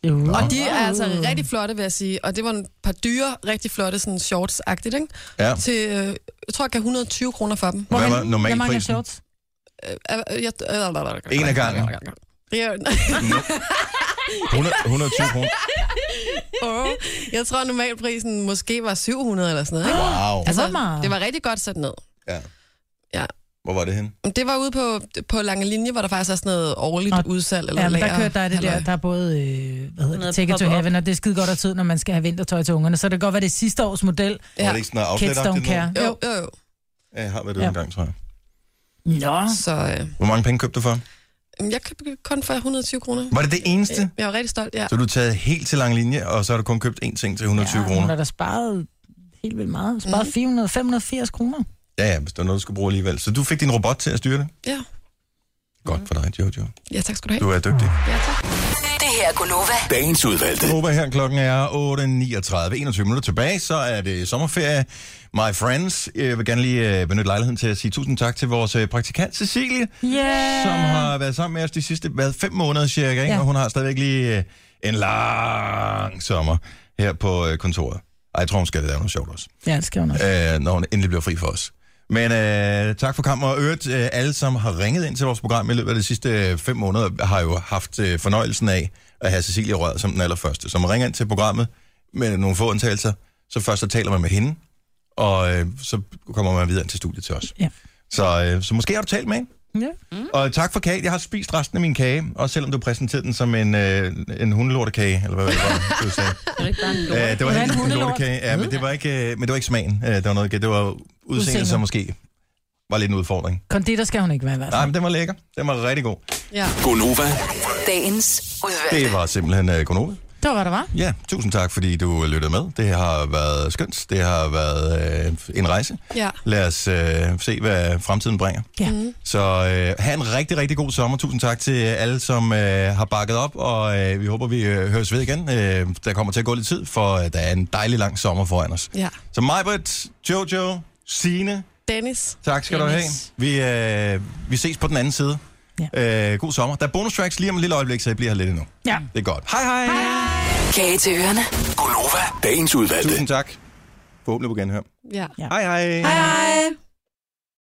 S5: Jo.
S3: Og de er altså rigtig flotte, vil jeg sige. Og det var en par dyre, rigtig flotte sådan shorts-agtigt, ikke?
S1: Ja.
S3: Til, øh, jeg tror, jeg gav 120 kroner for dem.
S1: Hvad var
S5: Jeg mangler
S1: normalprisen?
S5: shorts.
S3: Øh, øh, jeg, øh,
S1: En af gangen.
S3: Ja,
S1: 100, 120 kroner.
S3: åh, jeg tror, normalprisen måske var 700 eller sådan noget. Ikke?
S1: Wow.
S5: Altså, det var meget.
S3: Det var rigtig godt sat ned.
S1: Ja.
S3: Ja.
S1: Hvor var det henne?
S3: Det var ude på, på lange linje, hvor der faktisk er sådan noget årligt
S5: Nå,
S3: udsalg. Eller
S5: Ja, men der
S3: lager-
S5: kører der er det der,
S3: halløj.
S5: der er både, øh, hvad hedder
S4: Noget
S5: det, Ticket to
S4: pop-up.
S5: Heaven, og det er skide godt at tid, når man skal have vintertøj til ungerne. Så det kan godt være, det er sidste års model,
S1: Ja. Var det ikke sådan noget
S5: Kids Don't
S1: outlet-agtigt noget?
S5: Care.
S3: Jo, jo, jo.
S1: Ja, jeg har været det
S5: Ja.
S1: ja. en gang, tror jeg.
S5: Nå,
S3: Så øh,
S1: Hvor mange penge købte du for?
S3: jamen, jeg købte kun for 120 kroner. Øh,
S1: Var det det eneste? Ja.
S3: Jeg var rigtig stolt, ja.
S1: Så du har taget helt til lang linje, og så har du kun købt én ting til 120 ja,
S5: Hun
S1: kroner?
S5: har da sparet helt vildt meget. Sparet
S3: Mhm.
S5: mm. 400, 580 kroner.
S1: Ja, ja, hvis der er noget, du skal bruge alligevel. Så du fik din robot til at styre det?
S3: Ja.
S1: Godt for dig, Jojo.
S3: Ja, tak skal du have.
S1: Du er dygtig.
S3: Ja, tak.
S7: Det her er Gunova.
S9: Dagens udvalgte.
S1: Jeg håber her, klokken er 8.39. 21 minutter tilbage, så er det sommerferie. My friends, jeg vil gerne lige øh, benytte lejligheden til at sige tusind tak til vores øh, praktikant Cecilie,
S5: Yeah.
S1: som har været sammen med os de sidste hvad, fem måneder cirka, ikke?
S5: Ja.
S1: og hun har stadigvæk lige øh, en lang sommer her på øh, kontoret. Ej, jeg tror, hun skal lave noget sjovt også,
S5: Ja, det skal hun også.
S1: øh, når hun endelig bliver fri for os. Men øh, tak for kampen, og øvrigt øh, alle, som har ringet ind til vores program i løbet af de sidste øh, fem måneder, har jo haft øh, fornøjelsen af at have Cecilie Rød som den allerførste, som ringer ind til programmet med nogle få undtagelser. Så først så taler man med hende, og øh, så kommer man videre ind til studiet til os.
S5: Ja.
S1: Så, øh, så måske har du talt med hende.
S5: Ja.
S1: Og tak for kagen. Jeg har spist resten af min kage, også selvom du præsenterede den som en, øh, en hundelortekage, eller hvad var det var, du sagde.
S4: Det er jo ikke bare en
S1: Æh, Øh, det var
S5: Det var
S4: lort.
S1: helt
S5: en
S1: en
S5: hundelort.
S1: lortekage, ja, men det var ikke, øh, men det var ikke smagen. Øh, det var noget, det var udseendet,
S5: Udseendet.
S1: som måske var lidt en udfordring.
S5: Konditor skal hun ikke være i hvert
S1: Nej,
S5: fald.
S1: men den var lækker. Den var rigtig god.
S3: Ja.
S9: Gonova.
S7: Dagens udvalgte.
S1: Det var simpelthen øh, Gonova.
S5: Det var, hvad der var.
S1: Ja, tusind tak, fordi du lyttede med. Det har været skønt. Det har været øh, en rejse.
S3: Ja.
S1: Lad os øh, se, hvad fremtiden bringer.
S5: Ja.
S7: Mm.
S1: Så øh, have en rigtig, rigtig god sommer. Tusind tak til alle, som øh, har bakket op, og øh, vi håber, vi øh, høres ved igen. Øh, der kommer til at gå lidt tid, for øh, der er en dejlig lang sommer foran os.
S3: Ja.
S1: Så Majbert, Jojo, Sine,
S3: Dennis.
S1: tak skal
S4: Dennis.
S1: du have. Vi, øh, vi ses på den anden side. Ja. Øh, god sommer. Der er bonus tracks lige om et lille øjeblik, så jeg bliver her lidt endnu.
S5: Ja.
S1: Det er godt. Hej hej! hej.
S7: Kage til ørerne.
S9: Gonova. Dagens udvalgte.
S1: Tusind tak. Forhåbentlig på genhør.
S3: Ja.
S1: Hej hej!
S3: Hej.